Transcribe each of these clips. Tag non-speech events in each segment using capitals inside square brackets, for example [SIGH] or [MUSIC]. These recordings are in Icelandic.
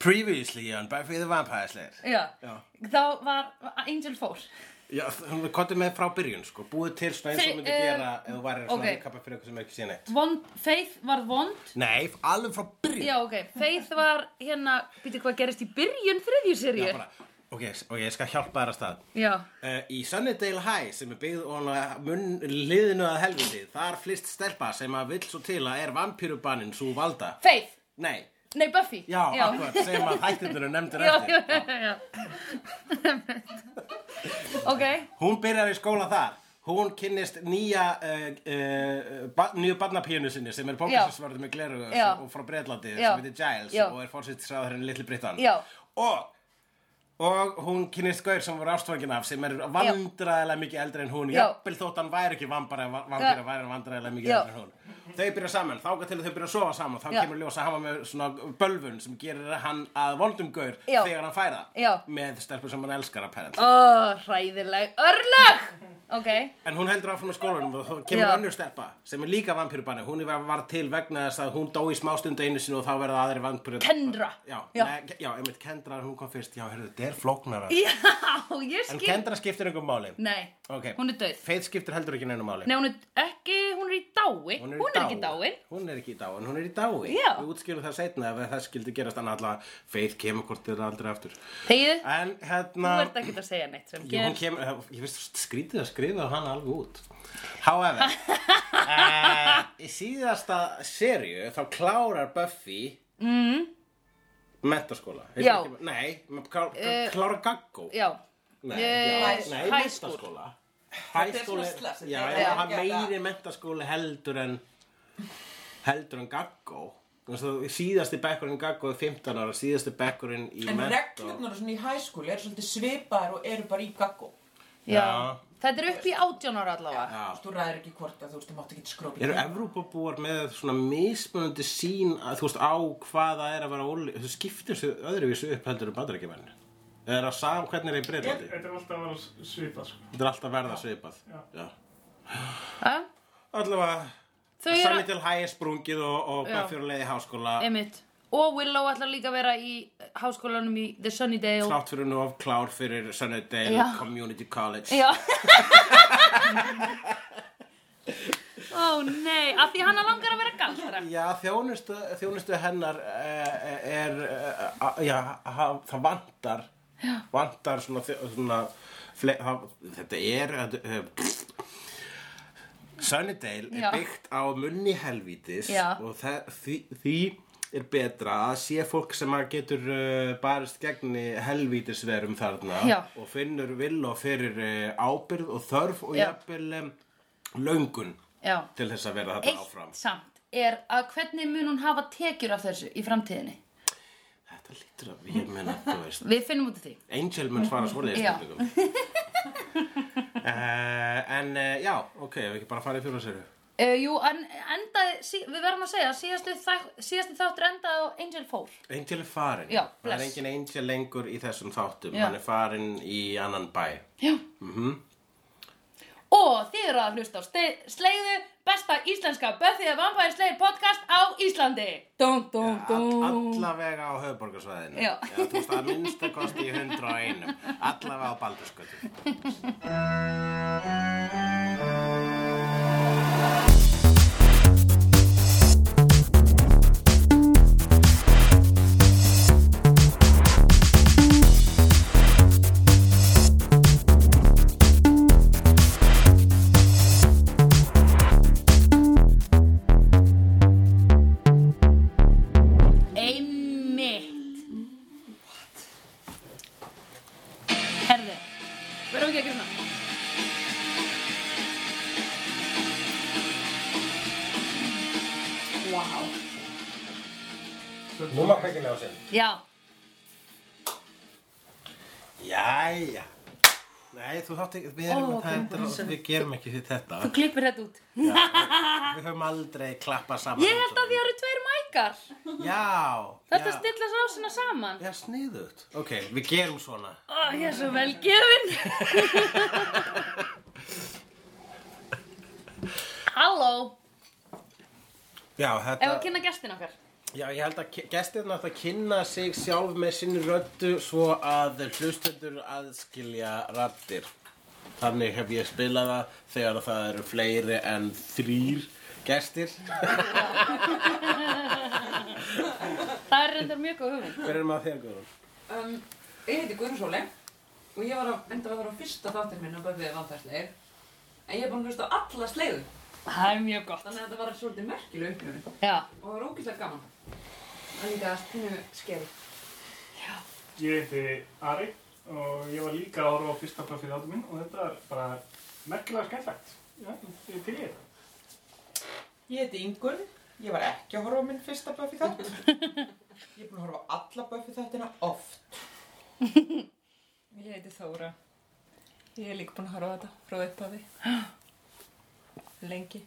Previously on Buffy the Vampire Slayer Já. Já, Þá var Angel fór. já hún kontið með frá byrjun sko, búið til svona eins og Þe- myndi um, gera ef þú væri svona ok. okay. kappa fyrir eitthvað sem er ekki sé neitt Vond, Faith var vond. Nei, alveg frá byrjun Já, ok. Faith var hérna, býttu hvað gerist í byrjun þriðju Já, seríu. bara, ok, s- ok, ég skal hjálpa þér að stað Já. Uh, í Sunnydale High sem er byggð ofan á munn liðinu að helviti þar flist stelpa sem að vill svo til að er vampýrubannin svo valda Faith. nei, Nei, Buffy. já, akkurat, sem að hættirnir er nefndir [LAUGHS] Já, eftir já, já, já. ok. hún byrjar í skóla þar hún kynnist nýja uh, uh, ba nýju barnapíunu sinni sem er bókasvörður með gleru Já. og frá Breitlandi Já. sem heitir Giles Já. og er fórsýttisraðurinn Little Britain Já. og Og hún kynnist Gaur sem voru ástfangin af sem er vandræðilega mikið eldri en hún Já. jafnvel þótt hann væri ekki vampara vampira væri hann vandræðilega mikið Já. eldri en hún Þau byrja saman, þáka til að þau byrja að sofa saman þá Já. kemur ljósa að hafa með svona bölvun sem gerir hann að vondum Gaur Já. þegar hann færa Já. með stelpur sem hann elskar að Ó, hræðileg. Örlög! Ok. En hún hendur áfram í skólanum og þá kemur Já. önnur stelpa sem er líka vampýrubanni. Hún var, var til vegna þess að hún dó í smástund einu sinni og þá verða aðri vampýrubanni. Kendra. Já, Já. Nei, já einmitt Kendra, hún kom fyrst. Já, herðu, þetta er flóknara. Já, ég En skil. Kendra skiptir einhver máli. Nei, Ok. hún er döð. Faith skiptir heldur ekki neina máli. Nei, hún er ekki, hún er í dái. Hún er, ekki dáin. Hún er ekki í dáin, hún er í dái. Já. Við útskýrum það seinna ef það skildi gerast annað allavega Faith kemur hvort þeirra aldrei aftur. Þegið, En þú hérna... ert ekki að segja neitt sem Jú, hún ger. kemur, ég veist skrítið að skrifa hana alveg út [LAUGHS] However uh, Í síðasta serju þá klárar Buffy mm. Metaskóla Heitir Já. Eh, ekki- Nei, klá, klárar Gaggó Já, Nei, eh, já, nei high school. metaskóla Hæskóli, svona slöpp. já, Þetta já, er hann ekki að- meiri metaskóli heldur en heldur en Gaggó Þannig að síðasti bekkurinn í Gaggó er 15 ára, síðasti bekkurinn í En mentó- reglurnar og svona í hæskóli eru svolítið svipaðar og eru bara í gaggó. já. Já. Þetta er upp í átján ára allavega. Já. Þú ræðir ekki hvort að þú veist, þú mátt ekki skrópa. Eru Evrópabúar með svona mismunandi sín að, þú veist, á hvað það er að vera óli þú skiptir sig öðruvísu upp heldur um bandarækjumenn eða er það sam hvernig er í Breitlandi Þetta er alltaf að vera svipað sko. þetta er alltaf verða svipað Já. Já. allavega Þau Sanni eru, til hægir sprungið og, og Já. Buffy er á leið í háskóla einmitt. Og Willow ætlar líka að vera í háskólanum í The Sunnydale. slátt fyrir nú of klár fyrir Sunnydale Já. Community College Já. [LAUGHS] Ó nei, af því hana langar að vera galdra. Já, þjónustu, þjónustu hennar eh, er, eh, a- já, ha- það vantar, vantar svona, þjó- svona fle, ha, þetta er, eh, Sunnydale Já. er byggt á munni helvítis Já. og það, því, því er betra að sé fólk sem að getur uh, barist gegni helvítisverum þarna Já. og finnur vill og fyrir uh, ábyrð og þörf og Já. jafnvel um, löngun Já. til þess að vera þetta áfram. Eitt samt er að hvernig mun hún hafa tekjur af þessu í framtíðinni? Þetta lítur að ég menna, þú veist, Við finnum út af því. Angel mun svara svoleiðið Já. spurningum. uh, en uh, já, ok, ef við ekki bara farið fjóra séru. Uh, jú, en endaði, sí, við verðum að segja, síðasti, þæ, síðasti þáttur endaði á Angel fór. Angel er farin. Já, Það er bless. engin Angel lengur í þessum þáttum. Já. Hann er farin í annan bæ. Já. Mhm. Og þið eru að hlusta á ste- sleiðu besta íslenska Buffy the Vampire Slayer podcast á Íslandi. Dum, dum, All, dum. allavega á höfuborgarsvæðinu. Já. Þú veist, að minnsta kosti í 101. Allavega á Baldurskötu. Einmitt. Herðu, verðum ekki að gera svona. Nú maður ekki lega sér. Já, Jæja. Nei, þú þátt ekki, við, erum, Ó, oh, ok, þetta, við gerum ekki því þetta. þú klippir þetta út. Við höfum aldrei klappað saman. Ég held að því eru tveir mækar. Já, Þetta já. stillast rásina saman. Já, sniðut. Ok, við gerum svona. Ó, ég er svo [LAUGHS] velgefin. Halló, Já, ef að þetta... kynna gestin okkar. Já, ég held að ki- gestirna átt að kynna sig sjálf með sinni röddu svo að hlustendur aðskilja raddir. Þannig hef ég spilað það þegar það eru fleiri en þrýr gestir. Það er reyndar mjög góð hugmynd. Hver er maður þér, Guðrún? Um, ég heiti Guðrún Sóli og ég var að enda að vera á fyrsta þáttir minn á Böfið Valdhærsleir en ég er búin að hlusta á alla sleiðu Það er mjög gott. þannig að þetta var svolítið merkileg upplifun Já. og það var ógeðslega gaman og líka pínu skeri Ég heiti Ari og ég var líka að horfa á fyrsta buffið átum minn og þetta er bara merkilega skemmtlegt. Já, ég er til í þetta. Ég heiti Ingun, ég var ekki að horfa á minn fyrsta [LAUGHS] Buffy þátt. Ég er búin að horfa á alla Buffy þáttina oft. Ég heiti Þóra ég er líka búin að horfa á þetta frá upphafi [GASPS] lengi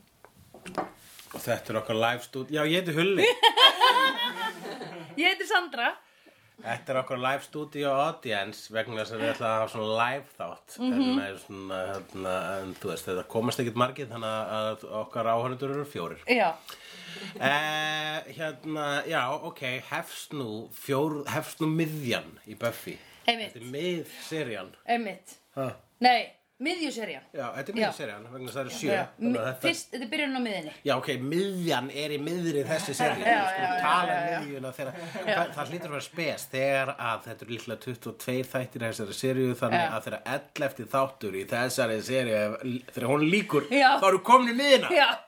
Og þetta er okkar live stúdíó. Já, ég heiti Hulli. Ég heiti Sandra. Þetta er okkar live stúdíó audience vegna þess að við ætla að hafa svona live þátt. en, eh, svona, hérna, en þú veist, þetta komast ekkert margir þannig að okkar áhörnendur eru fjórir. Já. Eh, hérna, já, ok, hefst nú, fjór, hefst nú miðjan í Buffy. Einmitt. Þetta er miðserían. Einmitt. Ha? Nei, miðjuserjan. Já, þetta er Já. miðserían, vegna þess að það er sjö. þannig að Mi- þetta, Fyrst, þetta er byrjun á miðinni. já, ok, miðjan er í miðri þessi seríu. Já, Við skulum já, já, Tala já, já. um miðjuna þegar, það, það hlýtur að vera spes þegar að þetta eru líklega 22 þættir í þessari seríu þannig Já. að þegar 11 þáttur í þessari seríu, þegar hún líkur, Já. þá eru komin í miðjuna. Já. [LAUGHS]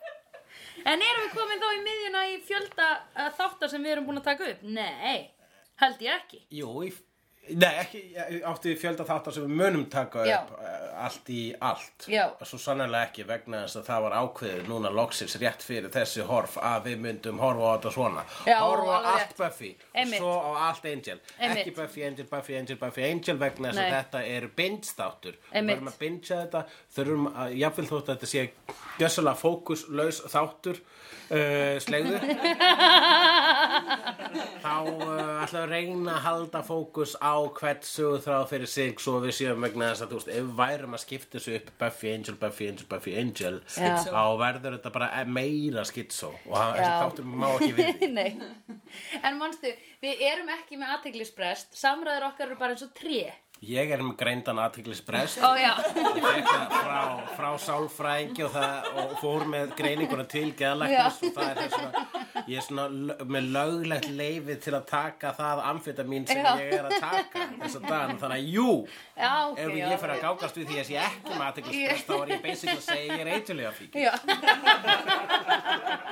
En erum við komin þá í miðjuna í fjölda uh, þáttar sem við erum búin að taka upp? Nei, held ég ekki. Jú, í, nei, ekki, ég átti í fjölda þáttar sem við munum taka Já. upp uh, allt í allt. Já. Svo sannlega ekki vegna þess að það var ákveðið núna loksins rétt fyrir þessi horf að við myndum horfa á þetta svona. Já, horfa á alveg allt rétt. Buffy Einmitt. og svo á allt Angel. Einmitt. Ekki Buffy Angel, Buffy Angel, Buffy Angel vegna þess að Nei. þetta eru binge-þáttur. Við Einmitt. verðum að bingea þetta, þurfum að, jafnvel þótt að þetta sé gjössalega fókuslaus þáttur, uh, slegðu. Þá uh, ætlaðu að reyna að halda fókus á hvert söguthrá fyrir sig svo við séum vegna þess að þú veist ef við værum að skipta þessu upp Buffy Angel, Buffy Angel, Buffy Angel Schizo. þá verður þetta bara meira skitsó og það- þessi Já. þáttur má ekki [LAUGHS] við því Nei. En manstu, við erum ekki með aðteglisbrest. Samræður okkar eru bara eins og tré. Ég er með greindan aðtiklisbrest Ó já. Ég fekk það frá, frá sálfræðingi og, það, og fór með greininguna til geðalæknis Já. og það er þess svona ég er svona lö- með löglegt leifi til að taka það amfetamín sem Já. ég er að taka þess að dagana þannig að jú Já, ok. Ef já. ég fyrir að gákast við því að ég ekki með aðteglisbrest þá er ég basically að segja ég er eitulega fíkil. Já. [LAUGHS]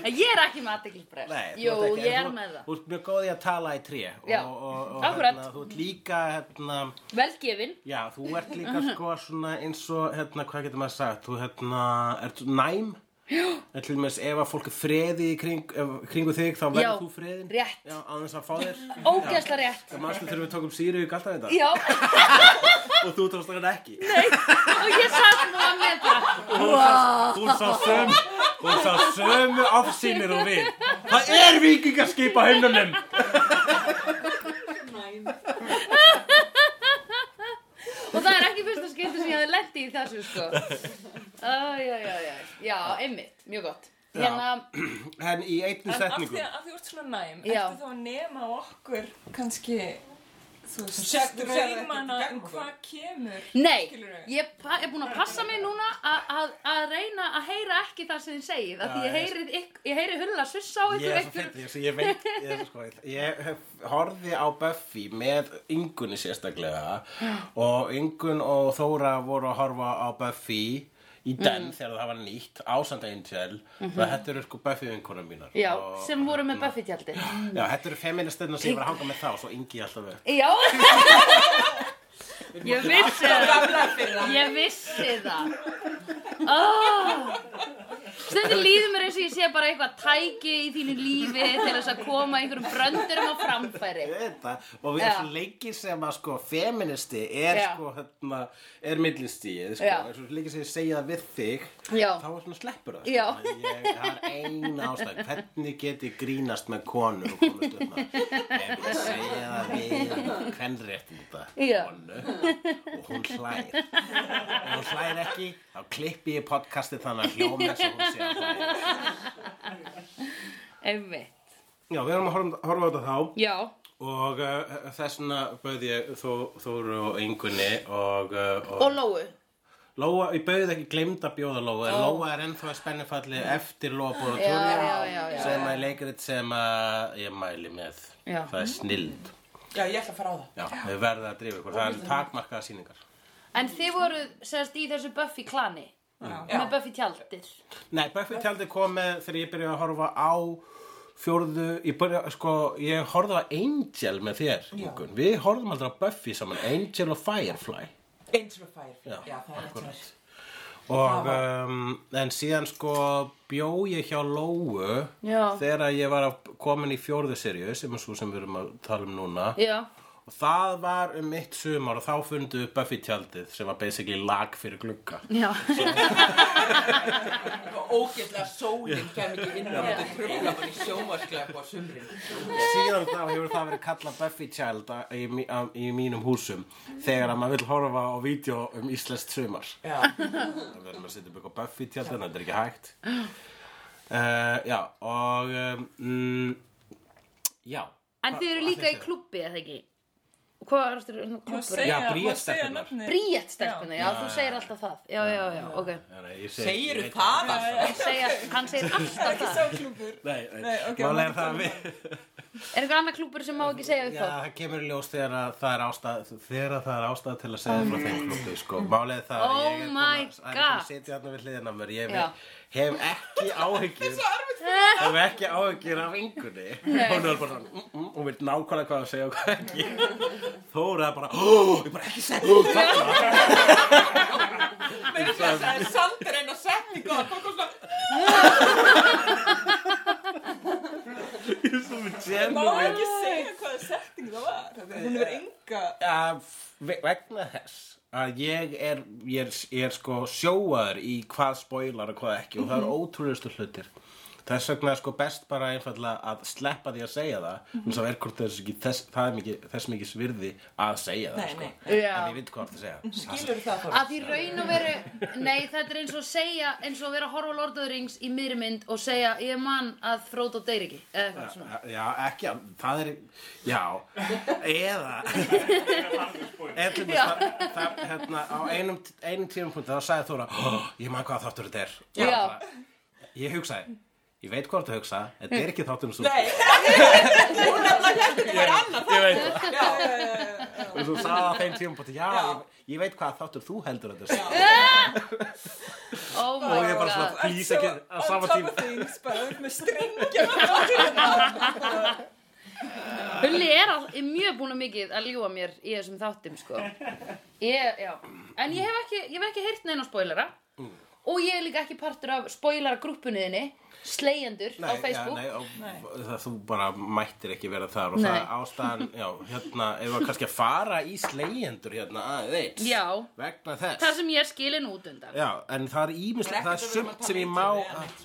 En ég er ekki með aðteglisbrest. Nei, þú Jú, ert ekki- en ég er þú- með það. Þú ert mjög góð í að tala í tré og, Já, og, og, akkurat. hérna, þú ert líka, hérna, Velgefin. já, þú ert líka Mhm. sko svona eins og, hérna, hvað getur maður sagt, þú hérna, ert næm, en til dæmis ef að fólk er freði í kring, ef- kringu þig þá Já, verður þú freðin. rétt. Já, á þess að fá þér. [LAUGHS] Ógæsla rétt. Það mannstu þegar við tókum síru í galtan þetta Já. og þú tókst það ekki. Og ég sagði hún var með það. Hún sá söm Hún sá sömu afsýnir og við Það er vikingaskip á himnunum Og það er ekki fyrsta skipti sem ég hafði lendi í þessu, sko. Æ, já, já, já. Já, einmitt. Mjög gott. Já. Hérna, En í einni En af setningu því að af því þú ert svona næm, Já. ertu þá að nema á okkur kannski, þú Þú sérð- veist, þú sérð ekkert í draumana um gegnum okkur. hvað kemur. nei, Skilurðu? ég pa- er búin að passa mig núna að- að að reyna að heyra ekki það sem þið segið. af Því Já, ég heyri, ykk- ég heyri hulla sussa á Ég ykkur er svo fyrir því Ég veit Ég, er svo sko, ég hef- horfði á Buffy með yngunni sérstaklega Og yngun og Þóra voru að horfa á Buffy Í den þegar það var nýtt Ásand Angel Það þetta eru sko Buffy vinkonum mínar Já, Og- sem voru með Buffy-tjaldi. Já, þetta eru feministirna sem ég var að hanga með þá Svo yngi alltaf verið Já. [LAUGHS] Ég vissi það. Ég vissi það. Oh. Stundin líður mér eins og ég sé bara eitthvað tæki í þínu lífi til þess að koma einhverjum bröndurum á framfæri. Þetta, og við Já. erum svo lengi sem að sko feministi er Já. sko hérna, er millistíð sko, Já. er svo lengi sem ég segja það við þig Já. þá er svona sleppur það Já. sko. ég, það er ein ástæð, hvernig get ég grínast með konur og komast upp með ef [LAUGHS] ég segja það við hvernréttinda Já. konu og hún hlær og hún hlær ekki, þá klippi ég podcastið þannig að hljóma svo hún sé að hlær Einmitt. Já, við erum að horfa, horfa á þetta þá Já, og uh, þess vegna bauð ég Þó- Þóru og Ingunni og, uh, og Lóu Lóa, ég bauðið ekki gleymd að bjóða Lóa en Lóa er ennþá að spennifalli eftir Lóa Já, Mm. já, já, já. sem er leikrit sem að ég mæli með Já. það er snild Já, ég ætla að fara á það. Já, við verðum að drífa ykkur, það er takmarkaða sýningar En þið voru, segast, í þessu Buffy klani Já. Með Buffy tjaldið Nei, Buffy tjaldi kom með þegar ég byrjaði að horfa á fjórðu, ég byrja, sko, ég horfði á Angel með þér, Ingun Við horfðum aldrei á Buffy saman, Angel og Firefly Angel of Fire. Já, það er rétt hjá akkurat. þér. Og, um, en síðan sko bjó ég hjá Lóu Já. þegar ég var að komin í fjórðu serju sem er svo sem við erum að tala um núna Já, og það var um mitt sumar og þá fundu upp Buffy tjaldið sem var basically lag fyrir glugga já Það var ógeðlega sólinn kæm ekki inn og þetta tröfla bara í sjómasklepp á sumrin. síðan þá hefur það verið kallað Buffy tjald í, mí- á- í mínum húsum þegar að maður vil horfa á vídeo um íslenskt sumar Já, Það verður maður að setja upp eitthvað Buffy tjald en þetta er ekki hægt uh, Já, og um, mm, Já En þið eru líka í klubbi, eða ekki? Hvað er þetta klubbur? Já, segja, Bríet má segja stelpurnar. nafnið. Bríett stelpunni, já, þú segir alltaf það Já, já, já, ok segiru það að það? Hann segir, hann segir alltaf Ekki það sá klúpur. Nei, nei, Nei, ok, Málega maður er það að við Er eitthvað annað klúbbur sem má ekki segja upp Já, þá? það kemur í ljós þegar að það er ástæð þegar að það er ástæð til að segja frá þeim klubbi sko. Málega er það að Oh ég er búin að- my að ég er búin God. að sitja þarna við hliðina á mér Ég Já. hef ekki áhyggjur Hef ekki áhyggjur af yngunni Hún er bara svona mm, mm, Hún veit nákvæmlega hvað að segja og hvað ekki Þóra er bara Ó, ég bara ekki segja [LAUGHS] Ó, þarna Mér finnst að það er sandur en að setja í góða. Hvað kom svona? Ég er svo með Má genuine. ekki segja hvaða setting það var. Þetta- Hún hefur enga... Já, ve- vegna þess að ég er, ég er, ég er sko sjóaður í hvað spoilar og hvað ekki og það Mhm. eru ótrúlustu hlutir þess vegna er sko best bara einfallega að sleppa því að segja það Mhm. mm -hmm. er hvort þess, ekki, þess, það er mikið, þess mikið svirði að segja það Nei, sko. nei. Mhm. en Já ég veit hvað það segja Skilur það þá? Að því raun og veru, nei þetta er eins og segja, eins og vera að horfa á Lord of the Rings í miðri mynd og segja ég man að Frodo deyr ekki, eða eitthvað svona. Eh, Já, ekki, að- það er, já, eða, eða til þess að, það, hérna, á einum, einum tímapunkti þá sagði Þóra, oh, ég man hvað þáttur þetta er. Og Já. bara, Ég hugsaði, ég veit hvað þetta hugsa, þetta er ekki þáttur um svo. Nei, hún er alltaf hérna þetta var annað. Ég veit það. Já, já, já, já. Og svo sagði það á þeim tímapunkti, já, Já. Ég, ég veit hvað þáttur þú heldur þetta er. Oh my Og ég bara god. svona, please ekki, á On sama top tíma. of things, bara upp með strengja frá hérna. Hulli er, all, er mjög búin að mikið að ljúa mér í þessum þáttum sko. ég, já. En ég hef ekki, ég hef ekki heyrt neina spoilera Mm. og ég er líka ekki partur af spoilera grúppunniðinni slegjendur á Facebook. Já, nei, og, Það, þú bara mættir ekki vera þar og Nei. það er ástæðan, já, hérna, ef við kannski að fara í slegjendur hérna aðeins Já. vegna þess Það sem ég er skilin út undan. Já, en það er ímislega, það er sumt sem ég má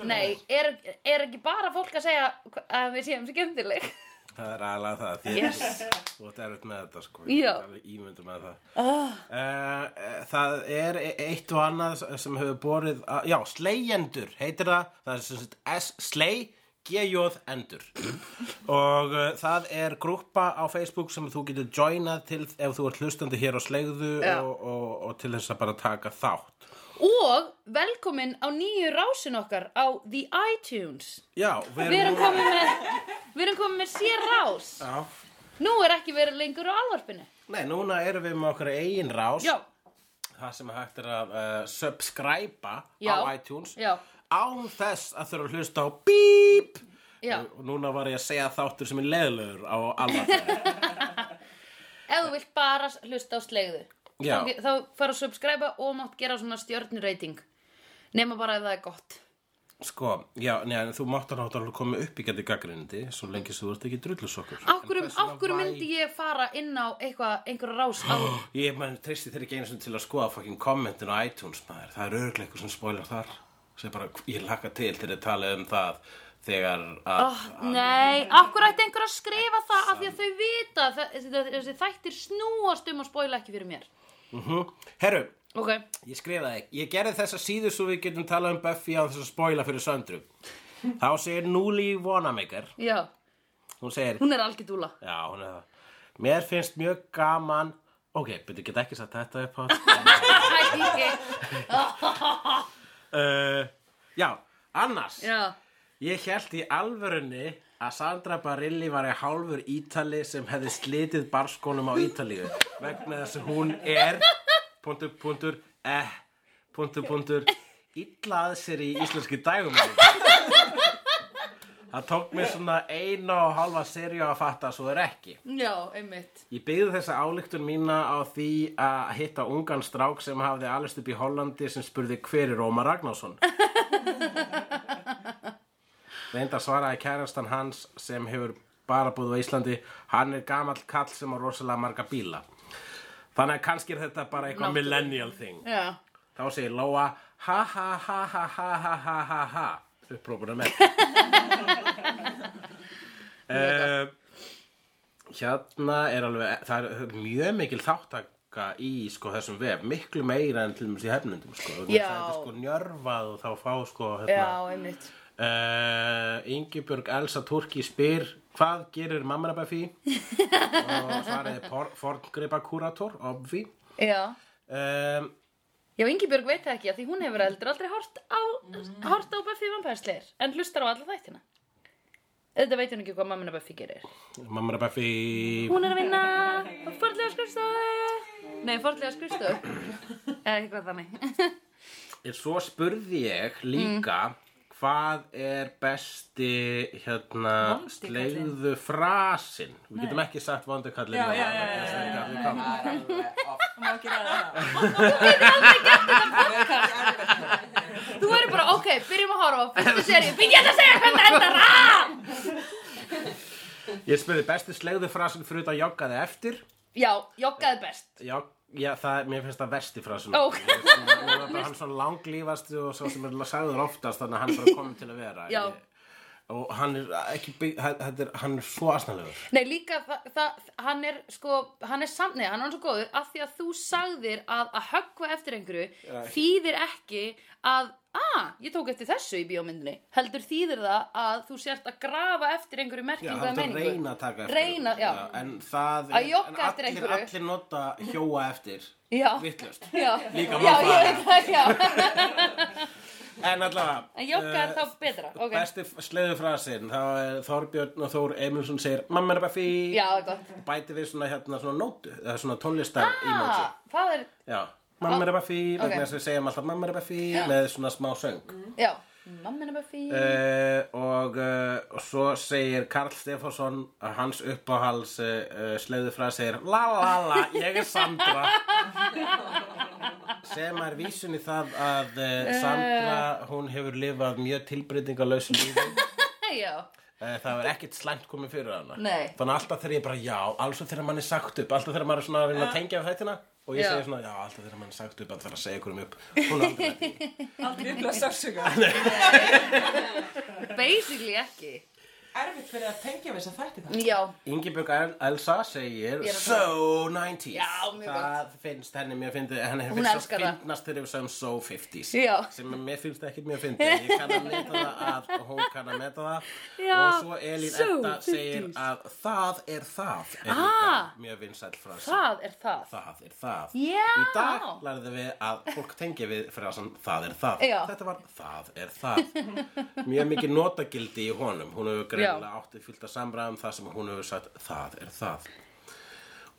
Nei, er, er ekki bara fólk að segja að við séum skemmtileg? Það er aðalega það, því Yes. þú ert erfitt með þetta sko Já. Ah. Ímyndur með það oh. Það er e- eitt og annað sem hefur borið að, Já, slegjendur heitir það Það er sem sagt S-slei G-jóð [COUGHS] endur og uh, það er grúppa á Facebook sem þú getur joinað til ef þú ert hlustandi hér á slegðu Já. og, og, og til þess að bara taka þátt Og velkomin á nýju rásin okkar á The iTunes. Já, við Við erum núna- komin með, við erum komin með sér rás. Já. Nú er ekki verið lengur á alvarpinu. Nei, núna erum við með okkur eigin rás Já, það sem hægt er að uh, subscriba Já. á iTunes já, án þess að þurfa að hlusta á bíp já. og núna var ég að segja þáttur sem er leðilegur á alveg Ef þú vilt bara hlusta á slegðu. Já. Þá, þá fara að subscriba og mátt gera svona stjörnurating. Nefna bara ef það er gott. sko, já, neðan þú máttar náttúrulega koma upp í gæti gaggrindi svo lengi sem þú ert ekki drullusokkur Ákveðum, ákveðum myndi ég fara inn á eitthvað, einhverja rás á... ég mann treysti þeir ekki einu sinni til að skoða fucking kommentin á iTunes maður, það er örglega eitthvað sem spoiler þar sem bara, ég laka til til að tala um það þegar að Oh, nei, akkur ætti einhver að skrifa það af því að þau vita að þe- þessi þessi þættir snúast um að spoila ekki fyrir mér. Mhm. herru, Ok, Ég skrifaði ekki. Ég gerði þessa síðu svo við getum talað um Buffy á þess að spoila fyrir söndru. Þá segir Núli Wanamaker já. Hún segir, Hún er algjör dúla. já, hún er það Mér finnst mjög gaman Ok, betur geta ekki sagt þetta upp á uh, Já, annars Já, Ég held í alvörunni að Sandra Barilli var í hálfur Ítali sem hefði slitið barskónum á Ítalíu vegna þess að hún er punktur, punktur, eh, punktur, punktur illa að sér í íslenski dægum Það tók mér svona eina og hálfa serju að fatta að svo er ekki já, einmitt. Ég byggði þessa ályktun mína á því að hitta ungan strák sem hafði alist upp í Hollandi sem spurði hver er Ómar Ragnarsson. Reynda svaraði kærastan hans sem hefur bara búið á Íslandi, hann er gamall kall sem á rosalega marga bíla. Þannig að kannski er þetta bara eitthvað millennial thing. Já. Þá segir Lóa, ha ha ha ha ha ha ha ha ha, upprópuna [LAUGHS] með. uh, hérna er alveg, það er mjög mikil þáttaka í sko þessum vef, miklu meira en til dæmis í hefnundum sko, Þannig Já. að það er sko njörvað og þá fá sko Já, hérna, einmitt. uh, Ingibjörg Elsa Turki spyr hvað gerir mamma Buffy og svaraði por, forngripa kurator, obvi Já. um, Já, Ingibjörg veit það ekki að því hún hefur heldur aldrei hort á, hort á Buffy vampærsleir en hlustar á alla þættina. Þetta veit hún ekki hvað mammina Buffy gerir. mamma Buffy Hún er að vinna á forlega skrifstofu. Nei, forlega skrifstofu. Eða eitthvað þannig. En svo spurði ég líka Mm. hvað er besti hérna Vondi kallinn. slegðu frasin. Við getum ekki sagt vondukallin. Já, já, já, já, já, Það er alveg off. Má ekki ræða það. Þú verður bara, ok, byrjum að horfa á fyrstu seri. Býtt ég ætla að segja hvernig þetta endar. Ah! Ég spurði besti slegðu frasin fyrir þetta joggaði eftir. Já, joggaði best. Já, já það, mér finnst það versti frasin. Ó. Mér finnst það- mér var bara Hann svona langlífast og svo sem er sagður oftast þannig að hann er bara komið til að vera. Já. Og hann er ekki bygg, hann, þetta er, hann er svo asnalegur. Nei, líka það, það, hann er sko, hann er samt, nei, hann er svo góður af því að þú sagðir að að höggva eftir einhverju þýðir ekki að, að, ég tók eftir þessu í bíómyndinni, heldur þýðir það að þú sért að grafa eftir einhverju Já, merkingu það eða er meiningu. reyna að taka eftir. Reyna, já. En það Að jogga en eftir allir, einhverju. Ah. allir nota hjóa eftir. Já, Vittlust. já, Líka já, mamma. ég veit það, já. En allavega. En jogga Eh, er þá betra, ok. Besti sleiðu frasinn, þá er Þorbjörn og Þór Emilsson segir Mamma er bara fí Já, það er gott. Bæti við svona hérna svona nótu, eða svona tónlistar ah. Ah, það er, Já, mamma er bara fí, Ok. vegna þess að við segjum alltaf mamma er bara fí Með svona smá söng mm. já, mammina bara fín. Eh. og, uh, og svo segir Karl Stefánsson að hans uppáhals uh, uh, sleiðu frasi er La la la, ég er Sandra sem er vísun í það að uh, Sandra, hún hefur lifað mjög tilbreytingalösu lífi Já, Eh, Það var ekkert slæmt komið fyrir hana Nei. Þannig að alltaf þegar ég bara já Alls og þegar mann er sagt upp Alltaf þegar maður er svona að reyna að tengja við þættina Og ég Já. segi svona já alltaf þegar mann er sagt upp Alltaf þegar að segja ykkur um upp Hún er aldrei lent í því. Aldrei upplöða sársöka. basically ekki. Erfitt fyrir að tengja við þess að þætti það. Já, Ingibjörg El- Elsa segir Ég er að So 90s Já, mjög Það finnst henni mjög fyndið Henni Hún finnst elskar það það. finnast þegar við segjum So 50s Já. Sem að mér finnst ekkert mjög fyndið Ég kann að meta það að og hún kann að meta það Já, Og svo Elín so Edda segir 50s. að Það er það er Ah. líka Mjög vinsæll frasi það er það. það er það Já. í dag lærðum við að fólk tengi við frasan það er það Já. þetta var það er [LAUGHS] það mjög mikið notagildi í honum hún hefur greinilega áttið fyllt að samræðum það sem hún hefur sagt það er það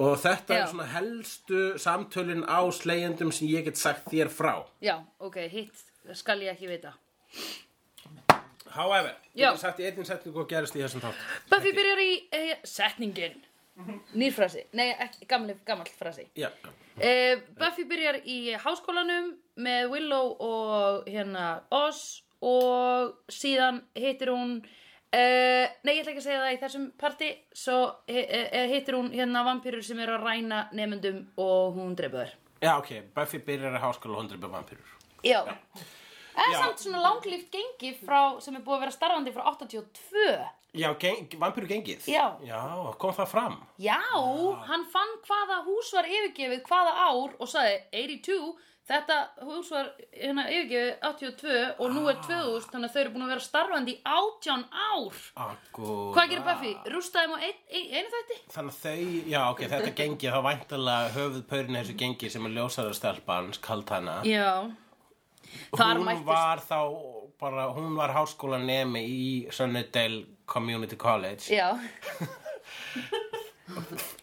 og þetta Já. er svona helstu samtölin á slegjendum sem ég get sagt þér frá Já, ok, hitt skal ég ekki vita. however, Já. ég get sagt í einnig setningu og gerist í þessum þátt Buffy byrjar í uh, setningin. Nýrfrasi. Nei, ekki, gamli, gamall frasi. já, Uh, Buffy byrjar í háskólanum með Willow og hérna Oz og síðan hittir hún Uh, nei, ég ætla ekki að segja það í þessum parti svo hi- eh, hittir hún hérna vampýrur sem eru að ræna nefnendum og hún dreipa þær já ok, Buffy byrjar í háskóla og hún drepa vampýrur Já, það er Já. samt svona langlíft gengi frá, sem er búið að vera starfandi frá 82 já, geng, vampýru gengið Já. kom það fram Já, hann fann hvaða hús var yfirgefið hvaða ár og sagði 82 Þetta hús var hérna yfirgefið 82 og nú Ah. er 2000 þannig að þau eru búin að vera starfandi í 18 ár. Akkúrat. Hvað gerir Buffy? Rústaði þeim á ein, ein, einu þætti? Þannig að þau, já ok, þetta gengi þá væntalega höfuðpörin þessu gengi sem er ljósarastelpan, Kaltana Já. Þar Hún mættist- var þá bara, hún var háskólanemi í Sunnydale Community College Já,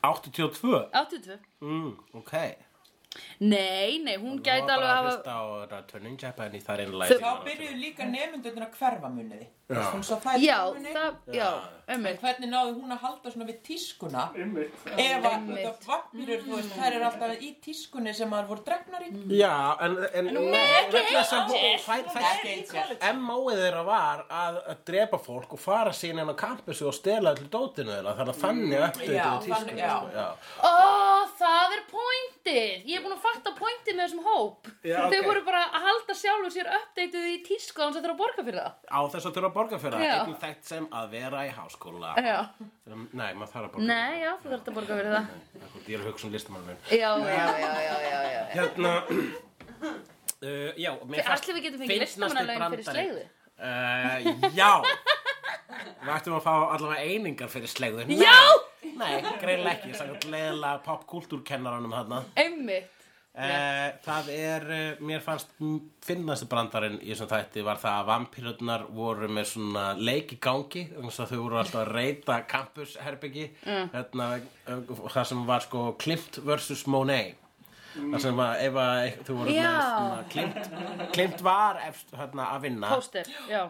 82 82. mm, Ok Nei, nei, hún Hún gæti var alveg bara að að hafa... hlusta á þetta Turning Japan í þar einu læsi Þá byrjuðu líka nefndunir að hverfa muniði. Já. Hún sá það í Já, tímunni. það, já, En ömmið. hvernig náðu hún að halda svona við tískuna? Einmitt. Ef að Einmitt. þetta vampýrur, þú veist, þær eru alltaf í tískunni sem maður voru dregnar í. Mm. Já, en, en, en hún er Ekki ekki einsett. MO-ið þeirra var að að drepa fólk og fara sín inn á kampusu og stela allir dótinu þeirra þannig að þannig öttu já, þetta þannig, tískunni já. sko, já. Ó, það er pointið! Ég er búin að fatta pointið með þessum hóp. Já, Þau ok. voru bara að halda sjálfu sér uppdeituð í tísku án sem þurfa að borga fyrir það. á þess að þurfa að borga fyrir það Já. einnig þekkt sem að vera í háskóla Já. Um, nei, maður þarf að borga Nei, já, þú þurft að borga fyrir það. fyrir það ég er að hugsa um listamannum Já, já, já, já, já, já. já. hérna [CLEARS THROAT] Uh, já, mér Þið- ætli við getum fengið listamannalaun fyrir slegðu? Uh, já, við ættum að fá allavega einingar fyrir slegðu. Nei, Já! Nei, greinlega ekki, sagði leðilega popkultúrkennaranum þarna. Einmitt. Uh, það er, uh, mér fannst finnast brandarinn í þessum þætti var það að vampirurnar voru með svona leik í gangi, þannig að þau voru alltaf að reyta campusherbyggi mm. hérna, uh, það sem var sko Klimt vs. Monet það sem að ef að eit- þú voru með Já. svona Klimt, Klimt var efst, hérna, að vinna Póster, já.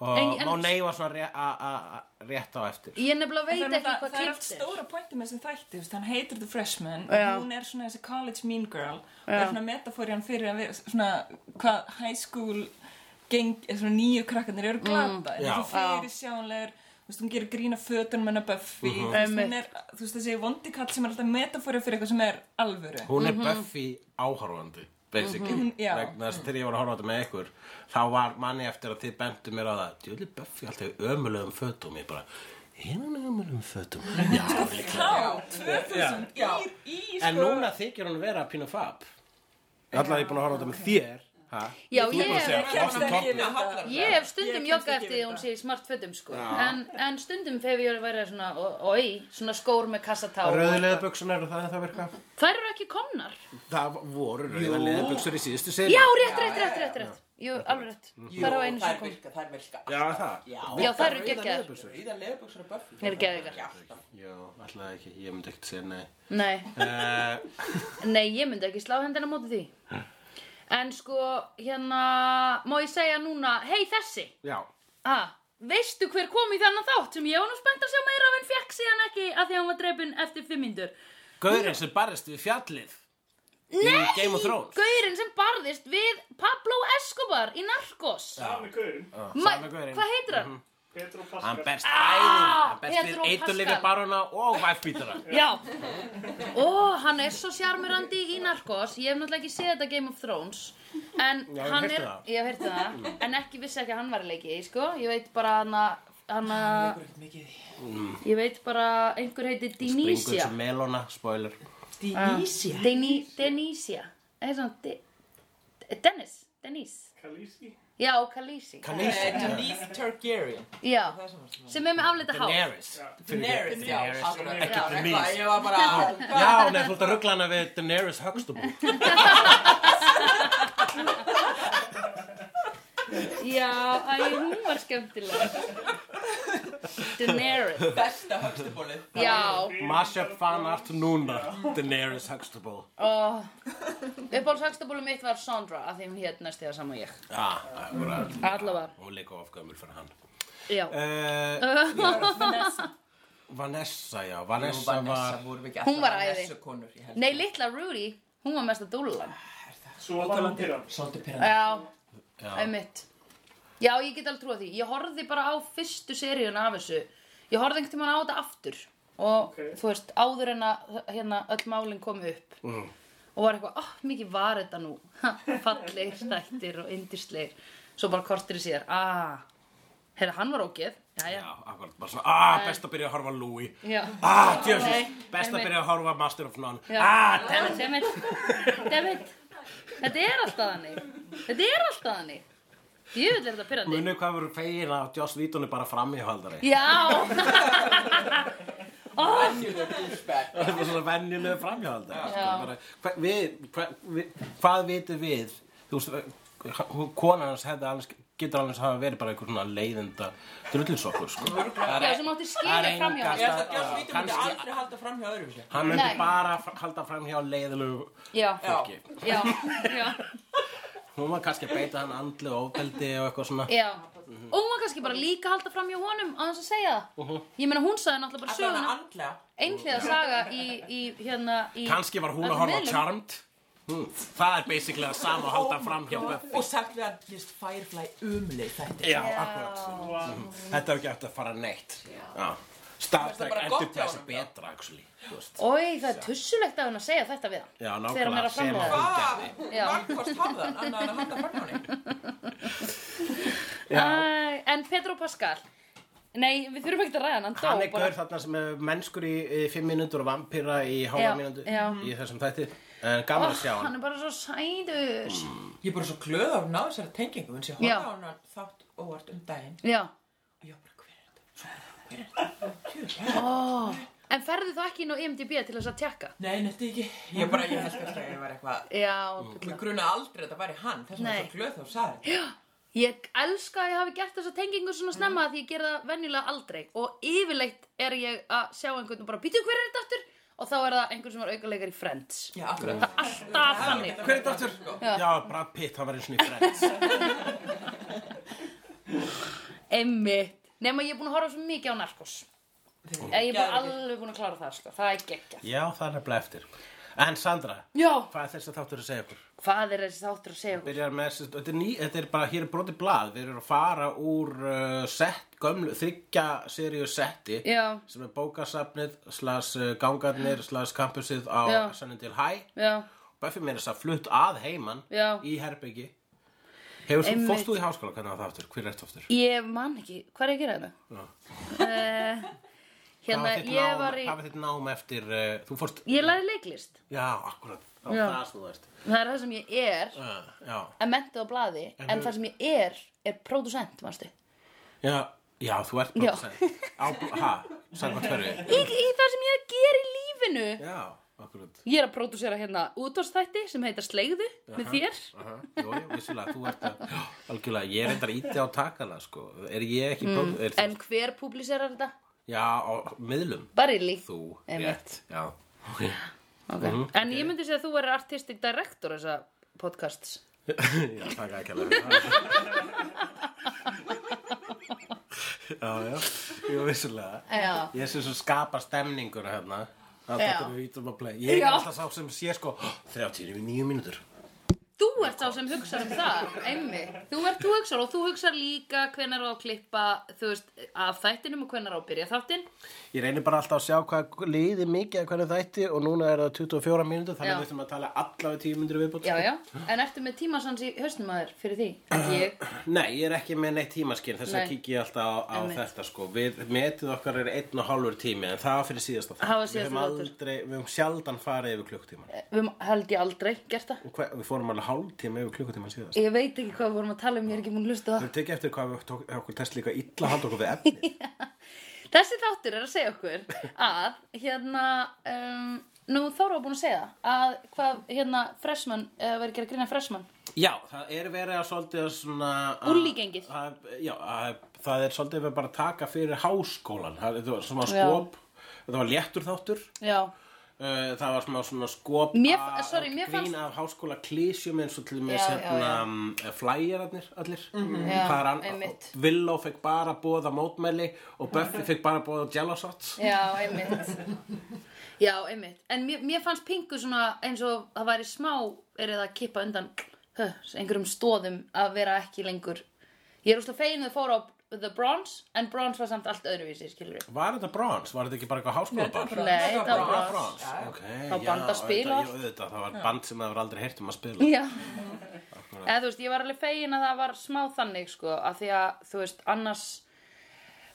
og en- en- Monet var svona ré- a- a- a- rétt á eftir Ég nefnilega Það veit er, ekki það, hvað það er allt klipt er. stóra pointi með þessum þætti, þú veist, hann heitir The Freshman Já. og hún er svona þessi college mean girl og Já. er svona metaforían fyrir að vera svona hvað high school geng, eða svona nýju krakkarnir eru glata Já. mm. en þú fyrir sjáanlegur þú veist, hún gerir grína fötunum hennar Buffy þú veist, hún er, þú veist, þessi vondikall sem er alltaf metaforían fyrir eitthvað sem er alvöru Hún Mhm. er Buffy áhorfandi basically, Mhm. Já. vegna þess að þegar ég var að horfa á þetta með ykkur þá var manni eftir að þið bentu mér á það djöli Buffy alltaf í ömulegum fötum ég bara, hérna hún ömulegum [LAUGHS] fötum Sko, já, líklega Já, 2000 Já. í, í sko en núna þykir hún vera pínu fab alltaf ég er búin að horfa á þetta með þér ha? Já, Þú ert búin að ég- segja, ég off the top. Ég hef stundum Ég joggað kemst ekki eftir því yfir að hún sé þetta. í smartfötum sko en, en stundum þegar ég væri svona Oi, svona skór með kassatá rauðu leðböksun eru það en það virka Þær eru ekki komnar það voru rauðu leðböksur í síðustu seri Já, rétt, rétt, rétt, rétt, rétt Jú, alveg rétt Þær eru einu sem þær kom virka, þær virka. já það Já. Já, þær eru Rauðar geggjaðar leðurbuxur. Ríða leðböksur að Buffy. Eru geðveikar. Já. já, alltaf ekki, ég myndi ekkert segja nei Nei, uh, nei, ég myndi ekki slá hendina á móti því En sko, hérna Má ég segja núna, hei þessi já ah, Veistu hver kom í þennan þátt sem ég var nú spennt að sjá meira af en fekk síðan ekki af því að hann var dreipin eftir fimm myndur Gaurinn sem barist við fjallið Nei! Í Game of Thrones Gaurinn sem barðist við Pablo Escobar í Narcos Sami gaurinn. Ma- Sami gaurinn. Mhm. Hvað heitir hann? Petro Ah. Hann Pascal. berst æðið Hann berst Pedro við eitulifi Pascal. barona og væfbítara Já Og hann er svo sjarmirandi í Narcos Ég hef náttúrulega ekki séð þetta Game of Thrones En Já, ég hann heyrti er það. Ég hef heyrti það En ekki vissi ekki að hann var í leiki sko. Ég veit bara hann að hann að- Ég veit bara einhver heiti Springur Dinísia sem melona, spoiler Dínísi. Dinísia Það er svona Di- Dennis Denise Khaleesi. Já, Khaleesi Ah. Khaleesi Dínísi eh, Targaryen. Já Það er sem hann. Sem er með afleita hár Daenerys Daenerys, já. Daenerys. akkurat. Ekki Já, Daenerys. eitthvað, Ég var bara á. Já, nei, þú ert að ruggla hana við Daenerys Huxtable Já, æ, hún var [LAUGHS] skemmtileg Daenerys Besta högstubólið. Já Mashup fan art núna Daenerys Huxtable Oh. Uppáhalds hagstabólu mitt var Sandra af því hún hétt næst þegar saman ég Já, akkurat Allavega, Eh. Hún er líka of gömul fyrir hann já uh, Vanessa. Vanessa, já, Jú, Vanessa Vanessa var vorum við ekki Hún var alltaf æði. Vanessa-konur, ég held. Nei, litla Rudy, hún var mest að dúlulan Svo var hann til hann. Svolítið pyrrandi. Já, Já, einmitt Já, ég get alveg trúa því Ég horfði bara á fyrstu seríuna af þessu Ég horfði einhvern tímann á þetta aftur Og Ok. þú veist, áður en að hérna, öll málin kom upp mm. Og var eitthvað, oh, mikið var þetta nú Ha, Fallegir þættir og yndislegir Svo bara kortir í síðar Ah, heyrðu, hann var ógeð já, Jæja, akkurat bara svona Ah, best að byrja að horfa á Louis já. Ah, djöfis, Nei, best að einmitt. byrja að horfa á Master of None Já. Ah, Dammit, dammit, dammit Þetta er alltaf þannig. Þetta er alltaf þannig. Jöfnvel er þetta pyrrandi. Munið hvað voru fegin að Joss Vítón er bara framíhaldari. Já. Venjuleg douchebag. Það er svona venjulegu framhjáhaldari. Sko, Já. bara, hva, við, hva, við, hvað vitum við? Þú veist, eh, hún- konan hans hefði alveg, getur alveg hafa verið bara einhver svona leiðinda drullisokkur, sko. Það Já, er- sem það átti er skilið enga fram hjá Ég held hann. að Joss Vítum myndi Kannski- aldrei halda fram hjá öðru sér. Hann myndi Nei. bara fr- halda framhjá leiðilegu Já, Já. fólki. já, já, Hún var kannski að beita hann andlu og ofbeldi og eitthvað svona. já. Og hún var kannski bara líka að halda fram hjá honum á þess að segja það. Mhm. Ég meina hún sagði náttúrulega bara Alltaf hann söguna. andlega. Einhliða saga í, í hérna, í... Kannski var hún að öllum horfa á miðlum. Charmed. Hm, það er basically að sama að halda framhjá Buffy. Og sagt við hann, just Firefly umleið þetta. Já, akkurat. Mhm. Þetta er ekki eftir að fara neitt. Já. Star Mér finnst það Trek bara gott hjá Enterprise er honum, já. betra, actually. Þú veist. Ói, það er tussulegt að hún að segja þetta við hann. Já, Þegar hann er nákvæmlega. að sem framleiða. hún Hvað? gerði. Já. Markvast hafðan, annað en að halda fram hjá henni. Já. Æ, en Pedro Pascal Nei, við þurfum ekki að ræða hann, hann dó Hann er bara. gaur þarna sem er mennskur í, í fimm mínútur og vampýra í Já, hálfa mínútu já. í þessum þætti. En gaman oh, að sjá Hann hann. er bara svo sætur Ég er bara svo glöð að hún náði sér að tengingu, en ég Já. horfði á hann þátt óvart um daginn. Já Og ég var bara, hver er þetta? oh. En ferðu þá ekki inn á E IMDb til þess að tjekka? Nei, nefndi ekki. Ég bara, ég held kannski að ég var eitthvað Já, Mér grunaði aldrei að þetta væri hann, þess vegna er Nei. svo glöð þá sagði. ég elska að ég hafi gert þessa tengingu svona snemma því ég gera það venjulega aldrei og yfirleitt er ég að sjá einhvern og bara býtu hver er þetta aftur og þá er það einhvern sem var aukaleikar í Friends Já, akkurat. Alltaf þannig Hver er þetta aftur? Já. Brad Pitt, hann var eins og í Friends. Einmitt Nefn ég er búin að horfa svo mikið á Narcos Ég er bara alveg búin að klára það sko. Það er gekkja [LAUGHS] Já, það er nefnilega eftir. En Sandra, Já, hvað er þessi þáttur að segja okkur? hvað er þessi þáttur að segja okkur? Byrjar með, þessi- þetta er, ný, þetta er bara, hér er brotið blað, við erum að fara úr uh, set, gömlu, þryggja seríu setti Já, sem er bókasafnið, slas uh, gangarnir, slas kampusið á Já. Sunnendil High. já, Buffy meira þess að flutt að heiman Já. í herbyggi. Hefur þú, Einmitt. Hérna, fórst þú í háskóla, hvernig var það aftur? Hver er þetta aftur? ég man ekki, hvað er ég að gera hérna? þetta? Uh, hérna, Hvað var þitt ég nám- var í, Hvað var þitt nám eftir, uh, þú fórst, ég lærði leiklist já, akkurat, það Já. var það sem þú veist. Það er það sem ég er, Uh, já, að menta á blaði En, þú- það sem ég er, er pródusent, manstu já, já, þú ert Já. prófessor. Á, ha, sagði hvað hverju? í, í það sem ég er að gera í lífinu Já, akkurat. Ég er að pródusera hérna útvarstætti sem heitar Sleigðu með þér Aha, Jú, jú, vissulega, þú ert að, algjörlega, ég er eitthvað íti á takana, sko, er ég ekki mm, er þú, En hver publiserar þetta? já, á miðlum, Barilli þú, Mhm. rétt, Einmitt. já, ok, okay. En ég myndi segja að þú verður artistic director þessa podcasts [LAUGHS] já, takk ekki [LAUGHS] alveg, já, já, jú, vissulega, Já. ég sé svo skapa stemningur hérna, það Já. er þetta við vítum að play, ég Já. er alltaf sá sem sé, sko, 39 mínútur, Þú ert sá sem hugsar um það, emmi. Þú ert, þú hugsar og þú hugsar líka hvenar á að klippa, þú veist, af þættinum og hvenar á að byrja þáttinn. ég reynir bara alltaf að sjá hvað liði mikið, hvernig þætti og núna er það 24 mínútur, þannig Já. að við þurfum að tala allavega 10 mínútur viðbútt, Já, já. En ertu með tímasans í höstum að þér fyrir því? Ekki ég. Nei, ég er ekki með neitt tímaskinn þess Nei. að kíkja ég alltaf á, á Einmitt. þetta sko. Við metið okkar er einn og hálfur tími en það var fyrir síðasta þátt. Það var Við síðasta höfum þáttur. Eh. aldrei, við höfum sjaldan farið yfir klukkutíman. Við höfum- um, held ég aldrei gert það. Hva, við fórum alveg hálftíma yfir klukkutíman síðast. Ég veit ekki hvað við vorum að tala um, ég er ekki múin að hlusta á Við það. höfum tekið eftir hvað við tók, okkur test líka illa að halda okkur við [LAUGHS] efni. Þessi þáttur er að segja okkur að, hérna, um, nú Þóra var búin að segja að hvað, hérna, freshman, uh, verið að gera grína freshman. já, það er verið að svolítið að svona... að- Úlígengið. að- Já, að, það er svolítið við bara að taka fyrir háskólan. Það, þetta var svona Já. skop, þetta var léttur þáttur. Já. Uh, það var smá svona skop Mér- af- sorry, mér grín fannst- af háskóla klísjum eins og til hérna, með Já, já, já. Mhm. sérna flæjararnir eh, allir Mm-hmm. Já, Það er einmitt. Mhm. Villó fekk bara bóða mótmæli og Buffy fekk bara bóða jellosots Já, einmitt Já, einmitt En mér, mér fannst pingu svona eins og það væri smá verið að kippa undan huh, einhverjum stóðum að vera ekki lengur Ég er úslega fegin að þau fóru á The Bronze en Bronze var samt allt öðruvísi, skilur við Var þetta brons? Var þetta ekki bara eitthvað háskóla bar? Nei, það var Var Bronze brons? Ok, Það var band að spila. auðvitað, jú, auðvitað, Það var band sem það var aldrei heyrt um að spila Já Eða þú veist, ég var alveg fegin að það var smá þannig sko, að því að þú veist, annars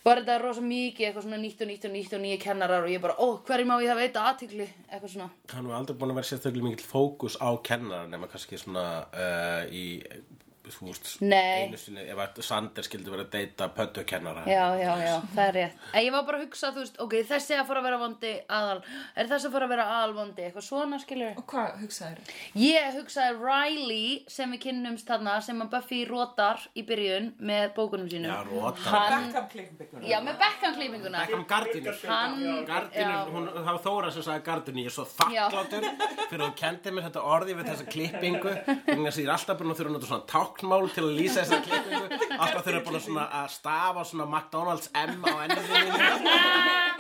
var þetta rosa mikið eitthvað svona nýtt og nýtt og nýtt og nýja kennarar og ég bara, ó, hverju má ég það veita aðtikli, eitthvað svona. Hann var aldrei búin að vera sérstaklega mikill fókus á kennara nema kannski svona uh, í, þú veist, Nei. einu sinni, ef að Sander skildi vera að deyta pöntu kennara. Já, já, já, það er rétt. En ég var bara að hugsa, þú veist, ok, þessi að fara að vera vondi aðal, er þessi að fara að vera aðalvondi, eitthvað svona, skilur. Og hvað hugsaður? Ég hugsaði Riley sem við kynnumst þarna, sem að Buffy rótar í byrjun með bókunum sínum. Já, rótar. Hann, Beckham klippbyggur. já, með Beckham-klípinguna. Beckham Gardiner. Hann, já. Gardiner, hún, það var Þóra sem sagði Gardiner, ég er svo þakkláttur fyrir að hún kendi mér þetta orði við þessa klippingu þannig að ég er alltaf búin að þurfa að nota svona táknmál til að lýsa þessa klippingu alltaf þurfa búin að, svona, að stafa svona McDonalds M á ennum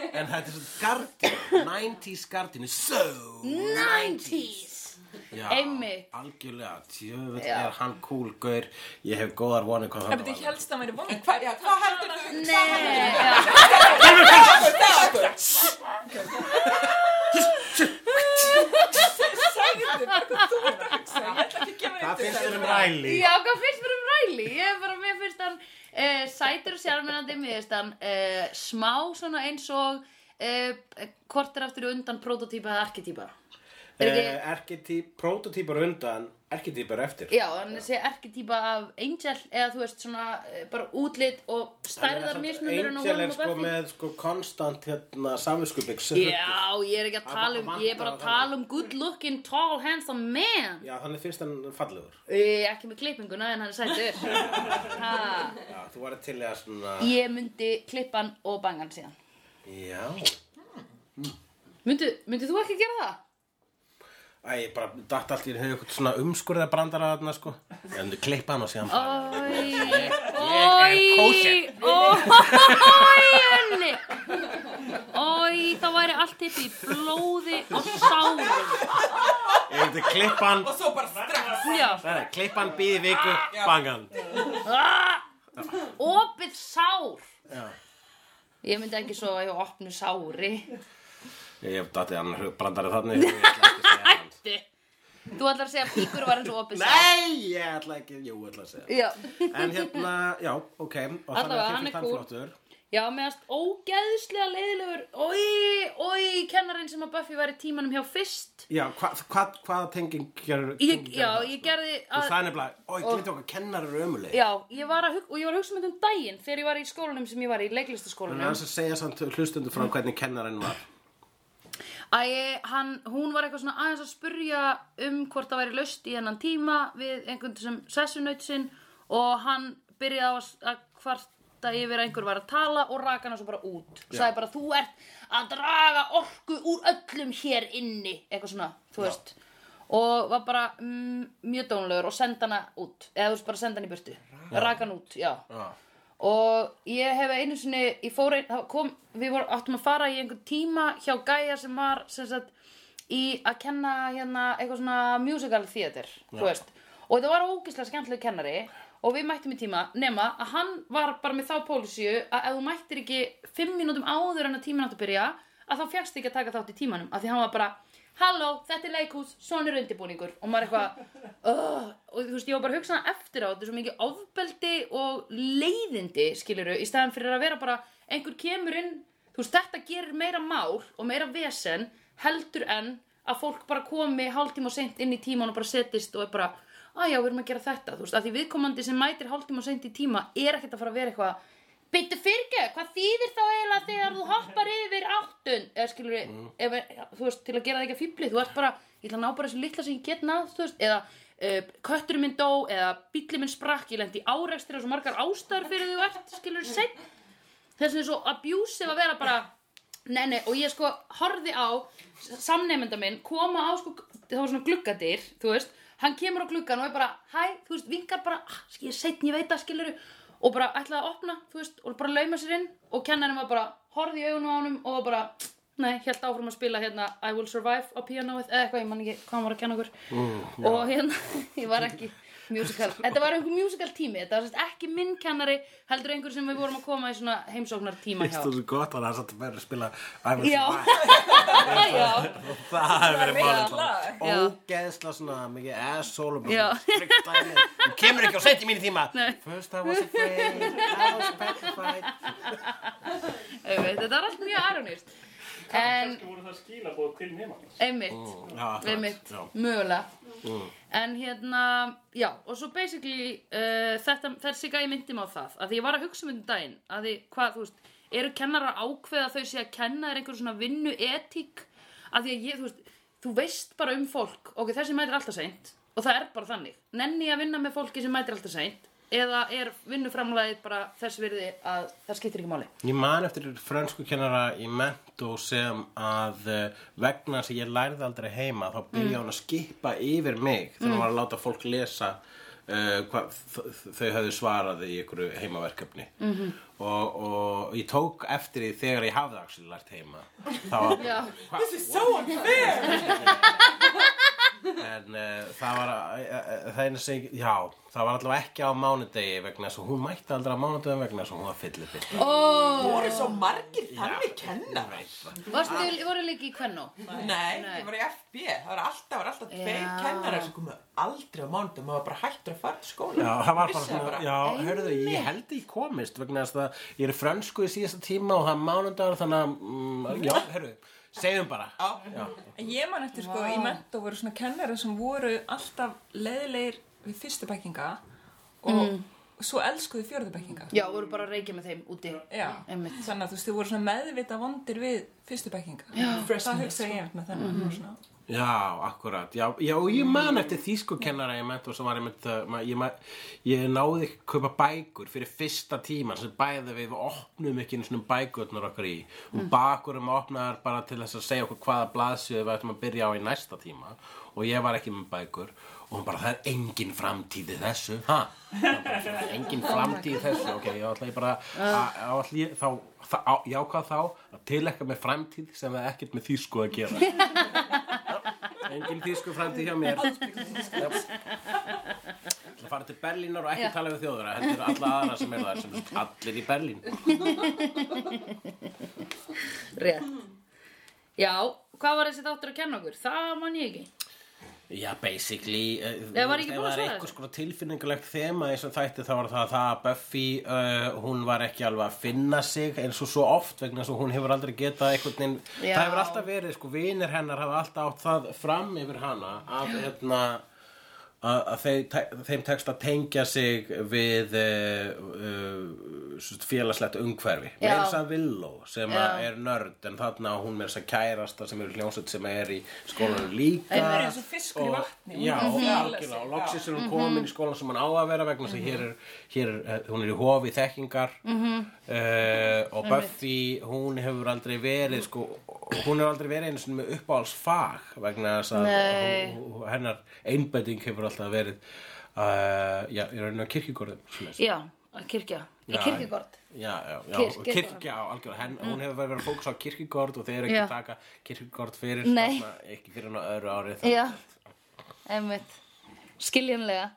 en þetta er svona Gardiner 90s Gardiner, so 90s. Já, Einmitt. algjörlega, tjöfull er hann cool gaur, ég hef góðar vonið hvað hann Þetta ég helst að hann væri vond. Hvað, já, hvað heldur þú? Nei, já. Segðu mér hvað þú er að hugsa. Ég ætla ekki að gefa Það þetta. finnst þér um ræli Já, hvað finnst mér um Riley? Ég er bara, mér finnst hann uh, sætur og sjálfmennandi, mér finnst hann uh, smá svona eins og uh, hvort er aftur á undan prototýpa eða arkitýpa? Er ekki, Erkitýp, prototýpar Eh, undan, erkitýpar eftir já, hann sé arkitýpa af Angel eða þú veist svona uh, bara útlit og stærðar mismunur en á Angel honum er og sko Buffy. með sko konstant hérna samviskubyggs Já, ég er ekki að Það er tala um, bara ég er bara vantar að það. tala um good looking, tall, handsome man. Já, þannig finnst hann fallegur Eh, ekki með klippinguna en hann er [LAUGHS] sætur. ha. Já, þú varði til að svona Ég myndi klippan og bangan síðan. Já Myndu, myndu þú ekki gera það? Æ, ég bara datt allt í einu hug eitthvað svona umskurða brandara þarna sko Ég endur klippa hann og síðan bara Ói, ói, ói, enni Ói, það væri allt hitt í blóði og sárum Ég endur klippa hann Og svo bara strax. Já, Það er, klippa hann býði viku, bangan Ah, opið sár Já. Ég myndi ekki sofa hjá opnu sári Ég hef datt í annar hug brandara þarna ég ætla ekki að [LAUGHS] segja hann. Þú ætlar að segja að píkur var eins og opið sár Nei, ég ætla ekki, jú, ég ætla að segja Já, En hérna, já, ok Og þannig Allavega, að þið hann er finnst hann cool. flottur Já meðast ógeðslega leiðilegur Ói, ói, kennarinn sem að Buffy var í tímanum hjá fyrst Já, hva, hva, hvaða tenging gerur ég, Já, ég gerði sko. Þú að sagði nefnilega, oi, glindu okkar kennar eru ömuleg Já, ég var að hug, og ég var að hugsa um þetta um daginn þegar ég var í skólanum sem ég var í Þannig leiklistaskólanum að þess að segja samt hlustundu frá hvernig kennarinn var að ég, hann, hún var eitthvað svona aðeins að spurja um hvort það væri löst í hennan tíma við einhvern sem sessunaut sinn og hann byrjaði á að s- að hvarta yfir að einhver var að tala og raka hana svo bara út og sagði bara þú ert að draga orku úr öllum hér inni eitthvað svona, þú veist og var bara mm, mjög dónlegur og senda hana út eða þú veist bara senda hana í burtu raka hana út, já Já, og ég hef einu sinni ég fór ein, þá kom, við vorum, áttum að fara í einhvern tíma hjá gæja sem var sem sagt, í að kenna hérna eitthvað svona musical theater þú veist, og það var ógeðslega skemmtileg kennari og við mættum í tíma nema að hann var bara með þá pólisíu að ef þú mættir ekki fimm mínútum áður en að tíminn átt að byrja að þá fjagst ekki að taka þátt í tímanum af því hann var bara Halló, þetta er leikhús, svona er undirbúningur og maður eitthvað "Ugh." og þú veist, ég var bara að hugsa hana eftir á þetta er svo mikið ofbeldi og leiðindi skiluru, í staðan fyrir að vera bara einhver kemur inn, þú veist, þetta gerir meira mál og meira vesen heldur en að fólk bara komi hálftíma og seint inn í tíman og bara setist og er bara, að já, við erum að gera þetta þú veist, að því viðkomandi sem mætir hálftíma og seint í tíma er ekkert að fara að vera eitthvað Byttu fyrirgjöð, hvað þýðir þá eiginlega þegar þú hoppar yfir áttun eða skilur við, ef, ja, þú veist, til að gera það ekki að fýbli þú ert bara, ég ætla að ná bara þessu litla sem ég get náð, þú veist, eða uh, kötturinn minn dó, eða bíllinn minn sprakk ég lendi árekstir og svo margar ástæður fyrir því þú ert, skilur við, seinn þess að er svo abusive að vera bara Nei, nei, og ég sko horfði á samneymenda minn koma á sko, það var svona gluggadyr, þú veist, hann kemur á gluggan og er bara, hæ, þú veist, vinkar bara, "Ah, ég er setn, ég veit það, skilur og bara ætlaði að opna, þú veist, og bara lauma sér inn og kennarinn var bara, horfði í augunum á honum og var bara, nei, held áfram að spila hérna I Will Survive á pianoið, eða eitthvað, ég man ekki hvað hann var að kenna okkur og hérna, [LAUGHS] ég var ekki musical, þetta var einhver musical tími, þetta var sem sagt ekki minn kennari, heldur einhver sem við vorum að koma í svona heimsóknar tíma hjá. Þetta er svo gott að það er satt að vera að spila I was Já. survived. Já, Það hefur verið meira málið lag. Já. ógeðsla svona mikið asshole og Já. bara strikt [LAUGHS] dæmi. Hún kemur ekki og setja mín í tíma. First I was afraid, I was petrified. Einmitt, Þetta var allt mjög arónist. En, Kannski voru það skilabóð til nefnarnins. einmitt, Já, akkurat. einmitt, Mm. Já. mögulega. En hérna, já, og svo basically uh, þetta, þessi gæði myndi mig á það að því ég var að hugsa um þetta um daginn að því, hvað, þú veist, eru kennarar að ákveða þau sé að kenna þér einhver svona vinnu etík að því að ég, þú veist, þú veist bara um fólk ok, þessi mætir alltaf seint og það er bara þannig nenni ég að vinna með fólki sem mætir alltaf seint eða er vinnuframlæðið bara þess virði að það skiptir ekki máli Ég man eftir frönsku kennara í mentó sem að eh, vegna sem ég lærði aldrei heima þá byrja hún að skipa yfir mig þegar hún var að láta fólk lesa uh, hvað þ- þ- þau höfðu svarað í einhverju heimaverkefni -hmm. og, og ég tók eftir því þegar ég hafði axil lært heima þá var Já, This is so unfair! en uh, það var uh, uh, það einu sem, já, það var allavega ekki á mánudegi vegna þess að hún mætti aldrei á mánudegi vegna þess að hún var fyllið fyrir voru svo margir þannig kennar. varstu, voru líki í kvennó? Nei, Nei. ég var í FB. Það var alltaf, það var alltaf tveir Já. kennarar sem komu aldrei á mánudum. Maður var bara hættur að fara til skóla. Já, það var Vissi bara svona, já, Einmitt. hörðu, ég held ég komist vegna þess að ég er í frönsku í síðasta tíma og það er mánudagur þannig að, mm, já, hörðu, segjum bara. Já. Já, En Ég man eftir sko í mentó voru svona kennari sem voru alltaf leiðilegir við fyrstu bekkinga og svo elskuðu fjörðu bekkinga. Já, voru bara að reykja með þeim úti Já, Einmitt. þannig að þú veist, þið voru svona meðvita vondir við fyrstu bekkinga. Já, það hugsa ég eftir með þennan. Mm -hmm. já, akkurat, já, já, og ég man eftir þýskukennara ég ment og svo var ég með, ég, man- ég náði ekki að kaupa bækur fyrir fyrsta tíman sem bæði við opnum ekki einu svona bækurnar okkar í og bakurum opnaðar bara til þess að segja okkur hvaða blaðsjöðu við ættum að byrja á í næsta tíma og ég var ekki með bækur og hún bara, það er engin framtíð í þessu, ha? engin framtíð í þessu ok, ég ætla ég bara að- að- ætla ég þá, þá, á- ég ákvað þá að tilekka með framtíð sem það er ekkert með þýsku að gera engin þýsku framtíð hjá mér Já. ætla að fara til Berlínar og ekki tala við þjóðura heldur alla aðra sem er þar sem eru allir í Berlín Rétt. Já, hvað var þessi þáttur að kenna okkur? Það man ég ekki. já, basically uh, Nei, var ég ekki búin að var svara einhvers þessu? konar tilfinningulegt sko þema eins og þætti þá var það að það að Buffy uh, hún var ekki alveg að finna sig eins og svo oft vegna þess að hún hefur aldrei getað einhvern veginn, Já. það hefur alltaf verið sko, vinir hennar hafa alltaf átt það fram yfir hana að hérna að að þeim, te- þeim tekst að tengja sig við uh, uh, sem sagt félagslegt umhverfi Já. meira þess að Villó sem að Já. er nörd en þarna á hún meira þess að kærasta sem eru hljónsett sem er í skólanum líka Það er eins og fiskur í og- vatni. Já, hún er að algjörlega, og loksins er Mhm. hún komin í skólan sem hann á að vera vegna þess að hér er, hér er, eh, hún er í hofi þekkingar -hmm. Mhm. og Buffy, hún hefur aldrei verið sko, hún hefur aldrei verið einu sinni með uppáhalsfag vegna þess að Nei. hún- hún- hennar einbæting hefur alltaf verið uh, já, ég er einu á kirkjugorðum svoleiðis. Já, að kirkja. Í Já. kirkjugord. Já, já, já, Kir- og kirkjugörð. Mhm. kirkja á algjörlega, henn, hún hefur verið að fókusa á kirkjugorð og þeir eru ekki Já. að taka kirkjugorð fyrir Nei. þarna, ekki fyrir hann á öðru ári Já, einmitt. Skiljanlega.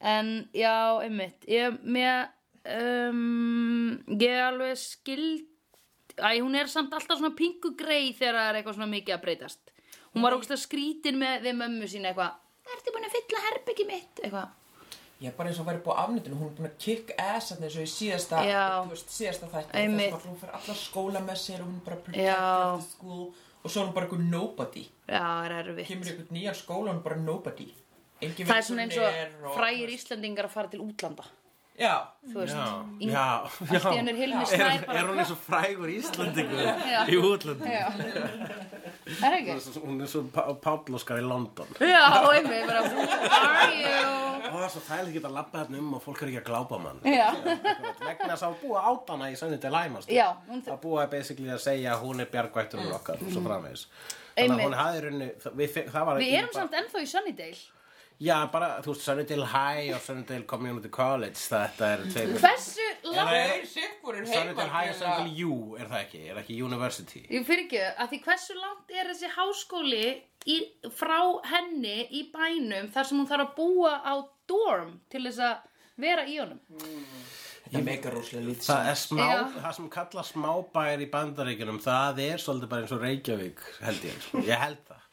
En já, einmitt. Ég, mér, um, ég alveg skild, æ, hún er samt alltaf svona pingu grei þegar það er eitthvað svona mikið að breytast. Hún var ógust að skrítin með, við mömmu sína eitthvað. Ertu búin að fylla herbyggi mitt? Eitthvað. Ég er bara eins og væri búið á afnitinu, hún er búin að kick ass að þessu í síðasta, Já. þú veist, síðasta þætti Einmitt. þess að hún fer alla skóla með sér og hún er bara protected Já. of the school og svo er hún bara einhver nobody Já, það er erfitt. kemur í einhvern nýjan skóla og hún er bara nobody Engin Það er svona eins og og frægir Íslandingar að fara til útlanda Já, Þú veist, Já, Í- já, já. allt í hennu er Hilmi Snær er, bara er hún eins og frægur Íslandingur í útlöndum Já. Er það ekki? hún er svo páblóskar í London Já, einmitt, bara Who are you? og það er svo þægileg geta að labba þarna um og fólk er ekki að glápa mann Já, vegna þess að búa átana í sönni til læmast já hún, Mm. að sko. búa er basically að segja að hún er bjargvættunum okkar og svo framvegis þannig að Einmitt. hún hafði runni við, fe- það var Við erum samt ennþá í Sunnydale já bara þú veist Sunnydale High og Sunnydale Community College þetta er tveimur Hversu það langt er sikkur er heima Sunnydale High og til að- Sunnydale U er það ekki er ekki University Ég fyrir ekki, að því hversu langt er þessi háskóli í, frá henni í bænum þar sem hún þarf að búa á dorm til þess að vera í honum Þetta meikar rosalega lítið Það sem er smá, Já. það sem kalla smábæjar í bandaríkjunum, það er svolítið bara eins og Reykjavík, held ég, sko. ég held það.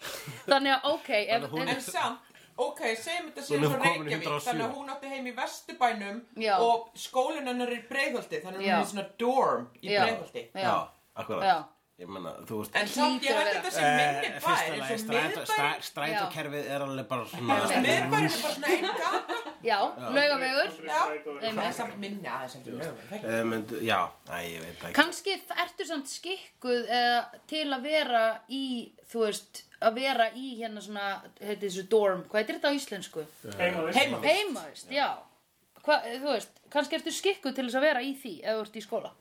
Þannig að, ok, ef, Þannig að hún- en, En samt, ok, segjum þetta Hún síðan er svo komin í Reykjavík, 107. þannig að hún átti heim í Vesturbænum Já. og skólinn hennar er í Breiðholti, þannig að Já. hún er í svona dorm í Já. Breiðholti. já, akkurat. já, Ég menna, þú veist... En samt, Hlýtur ég að held vera. þetta sem minni eh, bær, fyrsta lagi, eins og strætó- miðbær, stræ- strætókerfið er alveg bara svona... Herðu. miðbærin er bara svona einn [LAUGHS] gata. já, laugavegur. Það Einmitt. er samt minni aðeins ekki lögum. Eh, myndu- Já, næ, ég veit það ekki. Kanski ertu samt skikkuð eða, til að vera í, þú veist, að vera í hérna svona, heiti þessu dorm, hvað heitir þetta á íslensku? Heimaður. Heima. Heimavist, já. Hva, eh, þú veist, kannski ertu skikkuð til þess að vera í því ef þú ert í skóla.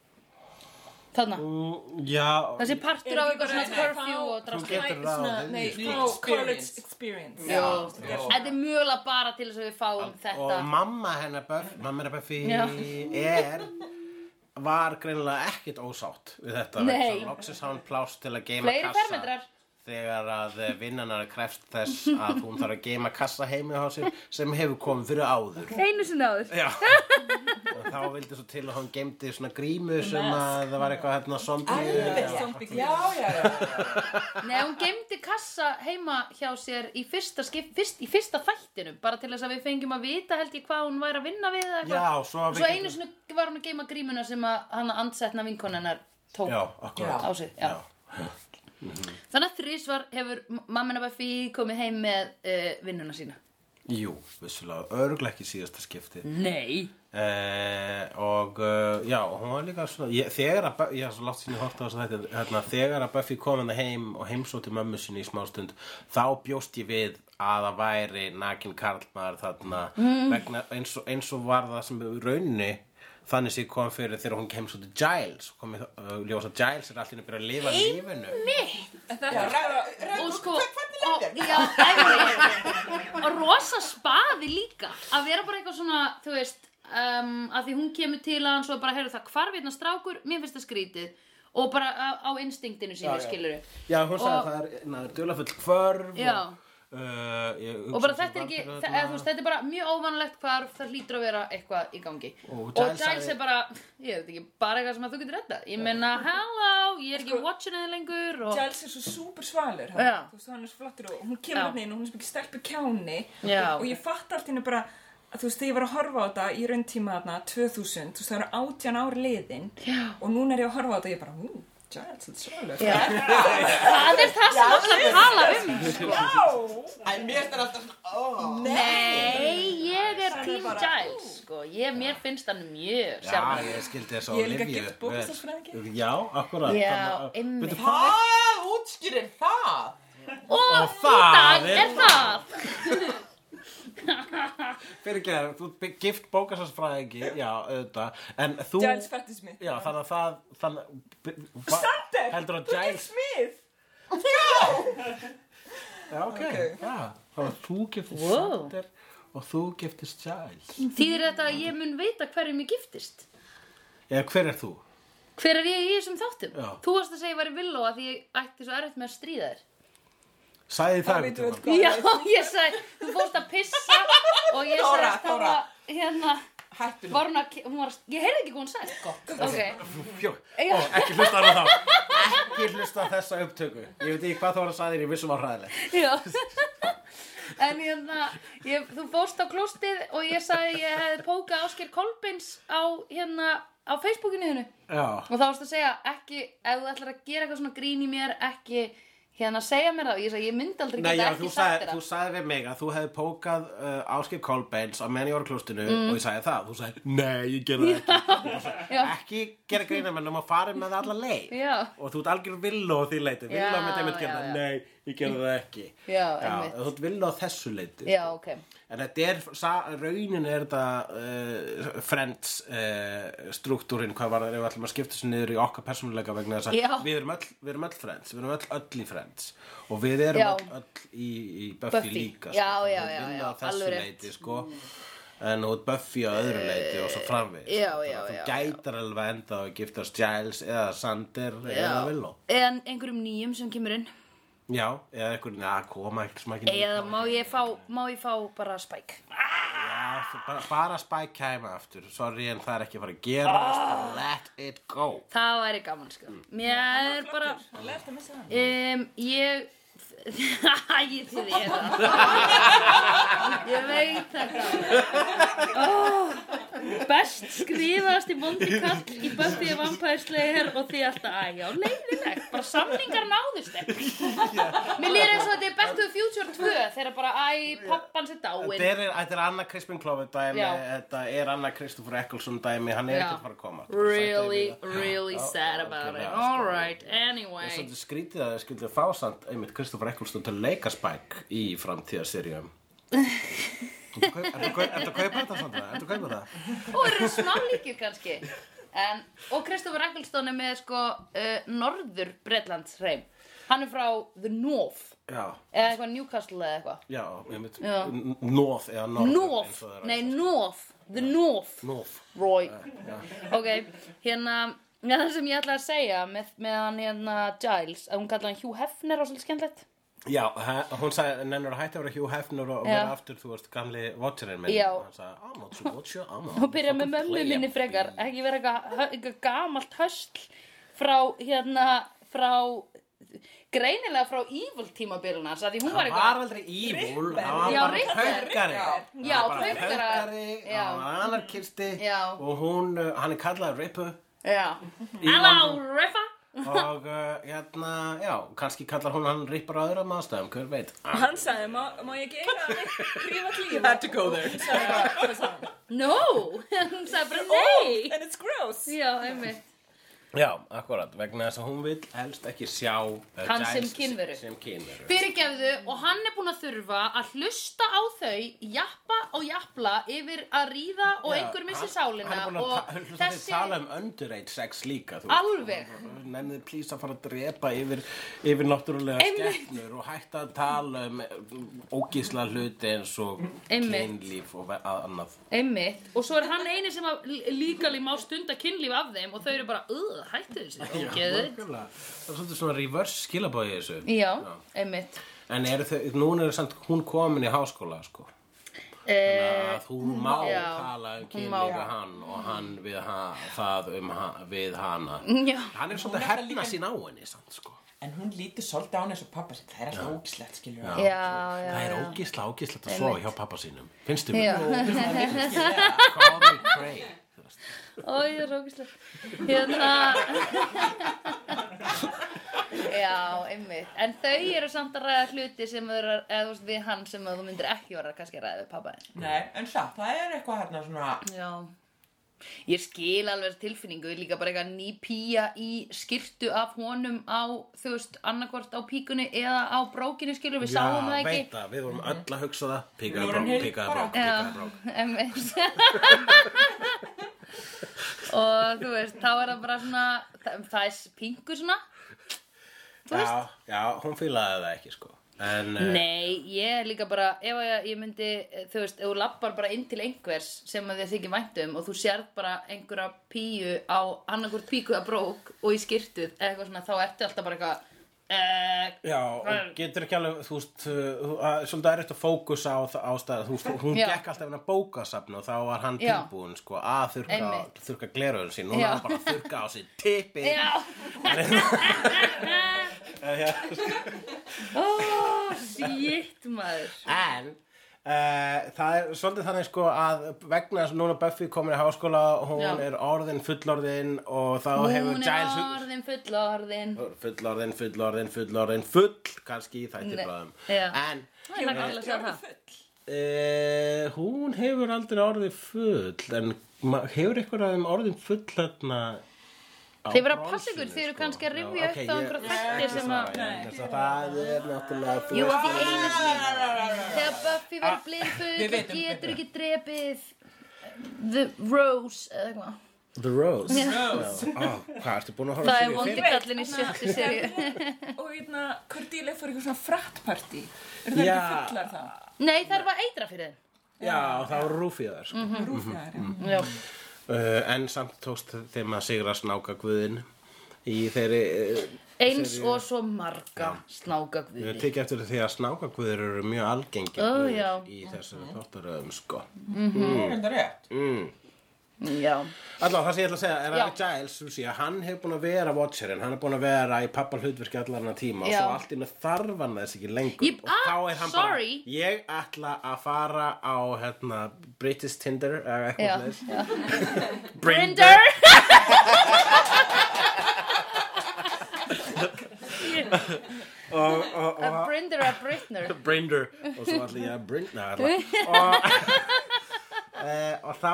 Þarna, Mm, Já, þessi partur á eitthvað svona curfew og Þú drastl. getur ráðið Nei, því, fá sko. college experience Já, Já. þetta er mjögulega bara til þess að við fáum þetta. og mamma hennar Buff, mamma hennar Buffy Já. er var greinilega ekkit ósátt við þetta vegna Nei. þess að loksins hafa hún pláss til að geima Fleiri kassa fermetrar. þegar að vinnanar krefst þess að hún þarf að geima kassa heimið á sér sem hefur komið fyrir áður Einu sinni áður. Já. og þá vildi svo til að hún geimdi svona grímu sem að það var eitthvað hérna Alveg, zombie samt ekki. Já, já, já, já. Nei, hún gemdi kassa heima hjá sér í fyrsta, skip, fyrst, í fyrsta þættinum bara til þess að við fengjum að vita held ég hvað hún væri að vinna við Já, eða eitthvað. svo að við Svo getum- einu sinni var hún að geima grímuna sem að hann andsetna vinkonennar tók Já, akkurat á sig. Já. Þannig að þrísvar hefur mammina Buffy komið heim með uh, vinnuna sína. Jú, vissulega, örglega ekki síðasta skipti Nei. Eh, og uh, já, hún var líka svona ég, þegar að, Bu- ég er svo látt sinni horta á þess að þetta hérna, þegar að Buffy kom henni heim og heimsótti mömmu sinni í smástund þá bjóst ég við að það væri nakin karlmaður þarna Mm. vegna, eins, og, eins og var það sem raunni þannig sem kom fyrir þegar hún heimsótti Giles kom í uh, ljósa Giles er allir að byrja að lifa lífinu Og sko, Hvernig leið og, þér? já, æfnir, og rosa spaði líka að vera bara eitthvað svona, þú veist um, að því hún kemur til að hann svo bara heyrðu það hvarf hérna strákur, mér finnst það skrítið og bara á, á instinktinu sínu skilur já, hún sagði Og- að það er na, duðlafull hvörf Já. og, uh, ég, og bara þetta er ekki, þa- eða, þú veist, þetta er bara mjög óvanlegt hvarf, það hlýtur að vera eitthvað í gangi Og og Giles Giles sagði- er bara, ég veit ekki, bara eitthvað sem að þú getur redda ég menna, hello, ég er ekki watching þið lengur og Giles er svo súper svalur Já. hann, þú veist, hann er svo flottur og hún Já. kemur hann inn og hún er svo mikið stelpu kjáni Já. og ég fatt allt henni bara að þú veist, þegar ég var að horfa á þetta í rauntíma þarna 2000, þú veist, það eru 18 ár liðin Já. og núna er ég að horfa á þetta og ég bara, hú, Giles, þetta er svalur Já. það er það sem allir tala um Æ, mér finnst það alltaf svona, ó. Nei, ég er Team Giles sko. ég, Mér finnst hann mjög Já, sjarmerandi. ég skildi þess að Ég er líka Olivia gift bókstafsfræðingi. vel. Já, akkurat Já, Þannig að- einmitt. Veitu, hvað er- Hvað útskýrir það? Og það það er- er það Fyrir ekki það, þú ert gift bókastafsfræðingi Já, auðvitað En þú Giles fættis mig Já, þannig að það þannig, hva- Sander, Heldur að þú Giles gifst mig Já, ok, Ok. já Þannig að þú giftist Wow. Sander Og þú giftist Giles Þýðir þetta að ég mun veita hverjum ég giftist Eða hver er þú? Hver er ég í þessum þáttum? Já. Þú varst að segja ég væri villó að því ég ætti svo erfitt með að stríða þér Sæði Það það veitum við sko- einhvern hvað Já, ég sagði, þú fórst að pissa og ég sagði Þóra, að það Þóra. var hérna, Hættu nú. var hún að, ke- hún var að, ég heyrði ekki hvað hún sagði Gott Ok, tímann? Fjó, Já. ó, ekki hlusta á það Ekki hlusta á þessa upptöku Ég veit ekki hvað þú var að sæðir, ég vissum var hræðilegt Já [LAUGHS] En hérna, ég, þú fórst á klóstið og ég sagði ég hefði pókað Ásker Kolbins á hérna á Facebookinu hennu Já og þá varst að segja ekki, ef þú ætlar að gera eitthvað svona grín í mér, ekki hérna segja mér það og ég sagði ég myndi aldrei Nei, geta já, ekki þú sagt sagði, þér þú sagði við mig að þú hefði pókað uh, áskip Kolbeins á menn í orklustinu og ég sagði það, þú sagði, nei, ég gerði það ekki Mm. [LAUGHS] Já. ekki gera grína menn um að fara með það alla leið Já. og þú ert algjör villó því leiti villó Já, með þeim að já, gera já. það, hérna, nei, ég gerði það ekki Já, einmitt. þú ert villó að þessu leiti Já, ok en þetta er, sa, raunin er þetta uh, friends uh, struktúrin, hvað var það ef við ætlum að skipta sér niður í okkar persónuleika vegna þess Já. að við erum, öll, við erum öll friends við erum öll öll í friends og við erum Já. öll, öll í, í Buffy, Buffy. líka Já, sko. já, Þú já, vinna já, að þessu alveg rétt. Eh, leiti sko en þú ert Buffy á öðru leiti og svo framvegis já, Þannig já, að þú já, gætar alveg enda að giftast Giles eða Sander eða Villó En einhverjum nýjum sem kemur inn já, eða einhvern veginn að koma ekkert sem ekki Eða má ég fá, má ég fá bara spæk Já, þú- bara, bara Spike kæma aftur Sorry, en það er ekki að fara að gerast Ah. Let it go Það væri gaman, sko Mér er bara Lert að missa hann Um, ég, [LAUGHS] Ægir til því hérna. Ég veit þetta. Oh, best skrifaðast í Monty Kall í Buffy og Vampire Slayer og því alltaf, að já, leiðilegt, bara samningar náðist ekki. Mér lýður eins og þetta er Back to the Future 2 þegar bara, æ, pappan sér dáinn. Þetta er, þetta er Anna Crispin Clover dæmi, Já. þetta er Anna Kristoffer Eccleston dæmi, hann er Já. ekkert fara að koma. Really, really sad about it. algjörlega, sko. Alright, Það er anyway. svolítið skrítið að það skildið fá samt einmitt Kristoffer Eccleston til að leika Spike í framtíðaserjum. Ertu að kaup- ertu að kaup- ertu að kaupa þetta samt það? Ertu að kaupa það? og eru smá líkir kannski en, og Kristoffer Ecclestone er með sko uh, norður Bretlands hreim hann er frá The North Já, eða eitthvað Newcastle eða eitthvað já, einmitt. Já. N- North eða North. eins North, og það er að nei segja. North The North, North. Roy Eh, ok, hérna ja, það sem ég ætla að segja með, með hann hérna Giles, að hún kallar hann Hugh Hefner og svolítið skemmtilegt Já, he- hún sagði, nennur að hætta að vera Hugh Hefner og Já. vera aftur, þú veist, gamli watcherinn minn. Já. Hann sagði, I'm not your watcher, I'm not og byrja með mömmu minni frekar Já, ekki vera eitthvað eitthvað gamalt hösl frá hérna frá greinilega frá evil tímabilunars að því hún Það var var eitthvað aldrei evil, það var Já, bara Richter. haukari. Það Já, var bara Richter. Haukari, Já. hann var anarkisti Já. og hún, uh, hann er kallaður Rippu Já. hello Riffa og uh, hérna, já, kannski kallar hún hann Rippur á öðrum aðstæðum, hver veit. Og hann sagði, má, má ég [LAUGHS] ekki eiga að prífa klífa? Had to go there. [LAUGHS] no hún sagði bara "Oh." nei And it's gross. já, einmitt Já, akkurat, vegna þess að hún vil helst ekki sjá uh, Hann Giles sem kynveru. Sem kynveru. fyrirgefðu og hann er búinn að þurfa að hlusta á þau jappa og japla yfir að ríða og einhver missi hann sálina er búin að og ta- hlusta þig þessi tala um underage sex líka þú veist. alveg Nennið plís að fara að drepa yfir, yfir náttúrulega Einmitt. skepnur og hætta að tala um ógísla hluti eins og Einmitt. kynlíf og ve- að- annað. Einmitt, og svo er hann eini sem að líkali má stunda kynlíf af þeim og þau eru bara, öð, hættu þessu, ógeðu nákvæmlega. Það er svolítið svona reverse skilabóði í þessu. Já, einmitt En eru þau, núna er samt hún komin í háskóla, sko. eh, Að hún má já, tala um hún kynlíf má. við hann og hann við ha, það um ha, við hana. Já, Hann er svolítið að herna sín á henni, samt, sko. En hún lítur svolítið á hann eins og pappa sinn. Það er alltaf ógislegt, skiljum við. já, já Það er já. ógísla, ógísla að sofa hjá pappa sínum. Finnstu mér? Já. [LAUGHS] Call me Craig. Þú veist. Ó, ég er ógislega Hérna [LAUGHS] Já, einmitt En þau eru samt að ræða hluti sem eru, að- eða þú veist, við hann sem að þú myndir ekki vera kannski að ræða við pappa þinn Nei, en satt, það er eitthvað hérna svona... Já Ég skil alveg tilfinningu, ég líka bara eitthvað ný pía í skirtu af honum á, þú veist, annarkvort á píkunni eða á brókinu skilur, við sáum það [LAUGHS] veit ekki. það, við vorum öll að hugsa það Píkaða Við brók, vorum heilt píkaða bara. brók, píkaða brók Veit [LAUGHS] og þú veist, þá er það bara svona, það, það er pingu svona. Já, já, hún fílaði það ekki sko En eh, Nei, ég er líka bara, ef að ég myndi, eh, þú veist, ef þú lappar bara inn til einhvers sem að þið þykir vænt um og þú sérð bara einhverja píu á annarkvort píku að brók og í skirtuð eða eitthvað svona, þá ertu alltaf bara eh, eitthvað, Já, og getur ekki alveg, þú veist, uh, þú- að- svolítið er eftir að fókusa á það ástæða, þú veist, hún Já. gekk alltaf hennar bókasafn og þá var hann Já. tilbúinn, sko, að þurka, Einmitt. þurka gleraugun sín, núna Já. er hann bara að þurka á sín tippi. uh, já, Eh, ó, shit maður. En uh, það er svolítið þannig sko að vegna þess að núna Buffy komin í háskóla hún Já. er orðin fullorðin og þá hefur Hún er Giles orðin fullorðin. fullorðin, fullorðin, fullorðin, full kannski í Nei, þættibræðum já. en Það er nákvæmlega að segja það. e, hún hefur aldrei orðið full en ma- hefur eitthvað aðeim orðin full hérna á Þið verða að bronsinu, passa ykkur, þið eru sko? kannski Já, að ok, rifja upp þá ég- einhverja ég- þætti sem að... Já, ég- þess að það er náttúrulega þú Jú, veist- ekki einu sinni Þegar Ah. Buffy verður blindfull og vitum getur ekki drepið eh, The Rose eða eitthvað The Rose Rose Hvað ertu búin að horfa á Það er seríu vondi fyrir? kallin í sjöttu serju Og hérna, Cordelia fór eitthvað svona frattpartí. Er það Já. ekki fullar þá? Nei, það er bara eitra fyrir Já, það var rúfið þar sko. Mhm. Rúfjaðar, já. þeim Já, uh, En samt tókst þeim að sigra snáka guðin Í þeirri uh, eins og svo marga snáka Við guði tekið eftir því að snáka guðir eru mjög algengi Ó, guðir já. Í þessum þáttaröðum sko Mm. Það er rétt. mm. Já. Allá, það sem ég ætla að segja er Já. að Giles, þú sé, að hann hefur búin að vera watcherinn, hann er búin að vera í pappa hlutverki allan að tíma Já. og svo allt innan þarf hann þess ekki lengur Ég- og ah, þá er hann sorry. bara, ég ætla að fara á hérna, British Tinder eða Já. eitthvað leis Já. Brinder Brinder! og, og, A [LAUGHS] og, Brinder a Britner. og Brinder og svo ætla ég að Brinder og, e, og [LAUGHS] þá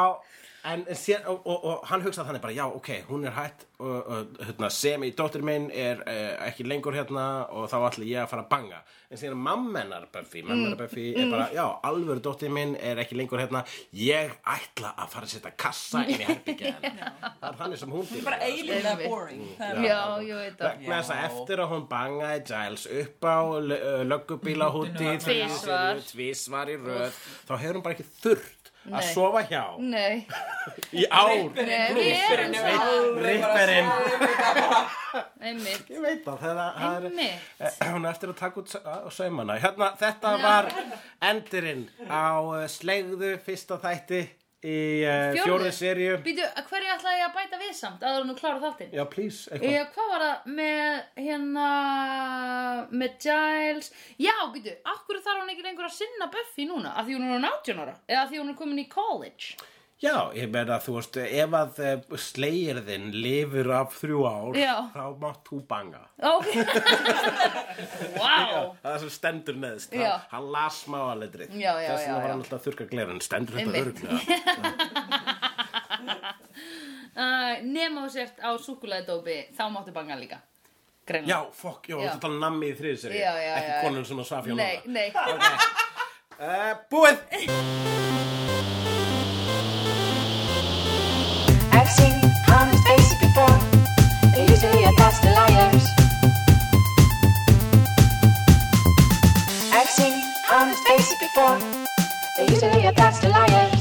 en sér, og, og, og hann hugsaði þannig bara já ok, hún er hætt og, og, hérna, sem í dóttir minn er e, ekki lengur hérna og þá ætla ég að fara að banga en síðan mammenar Buffy mammenar Buffy er bara já, alvöru dóttir minn er ekki lengur hérna ég ætla að fara að setja kassa inn í herbyggja hennar það er þannig sem hún Hún er fyrir bara eiginlega Einmitt. boring. Það Já, ég veit það. vegna þess að eftir að hún bangaði Giles upp á löggubíla húti Tvisvar. tvísvar í röð þá hefur hún bara ekki þurft að Nei. sofa hjá Nei. í ár Nei, við erum er svo. alveg bara Ripperinn. svo- Einmitt. ég veit það, það, er- það er Einmitt. Eh, hún er eftir að taka út sa- á saumana hérna, þetta var endurinn á eh, slegðu fyrsta þætti í uh, Fjórðu. fjórðu serju Býtu, að hverju ætlaði ég að bæta við samt áður en þú klára þáttinn? já, please, eitthvað Já, hvað var það með hérna með Giles Já, getur, akkur þarf hún ekki lengur að sinna Buffy núna, af því hún er hún 18 ára eða af því hún er komin í college Já, ég meina þú veist, ef að eh, slegirðin lifir af þrjú ár, Já. þá mátt þú banga. Ok [LAUGHS] Wow Það er sem stendur neðst, Já. hann, hann las smáalegdrið. Já, já, Þess vegna já, var já. hann alltaf að þurka glerun, stendur þetta Einmitt. öruglega. [LAUGHS] uh, Nema þú sért á súkulæðdópi þá máttu banga líka Já, Greinlega fokk, já, Já. þetta er um nammi í þriðið sér, Já, já, ekki já, konun svona svaf hjá Nei, núna. nei Uh, búið! I've seen honest faces before. They're usually a pass to liars. I've seen honest faces before. They're usually a pass to liars.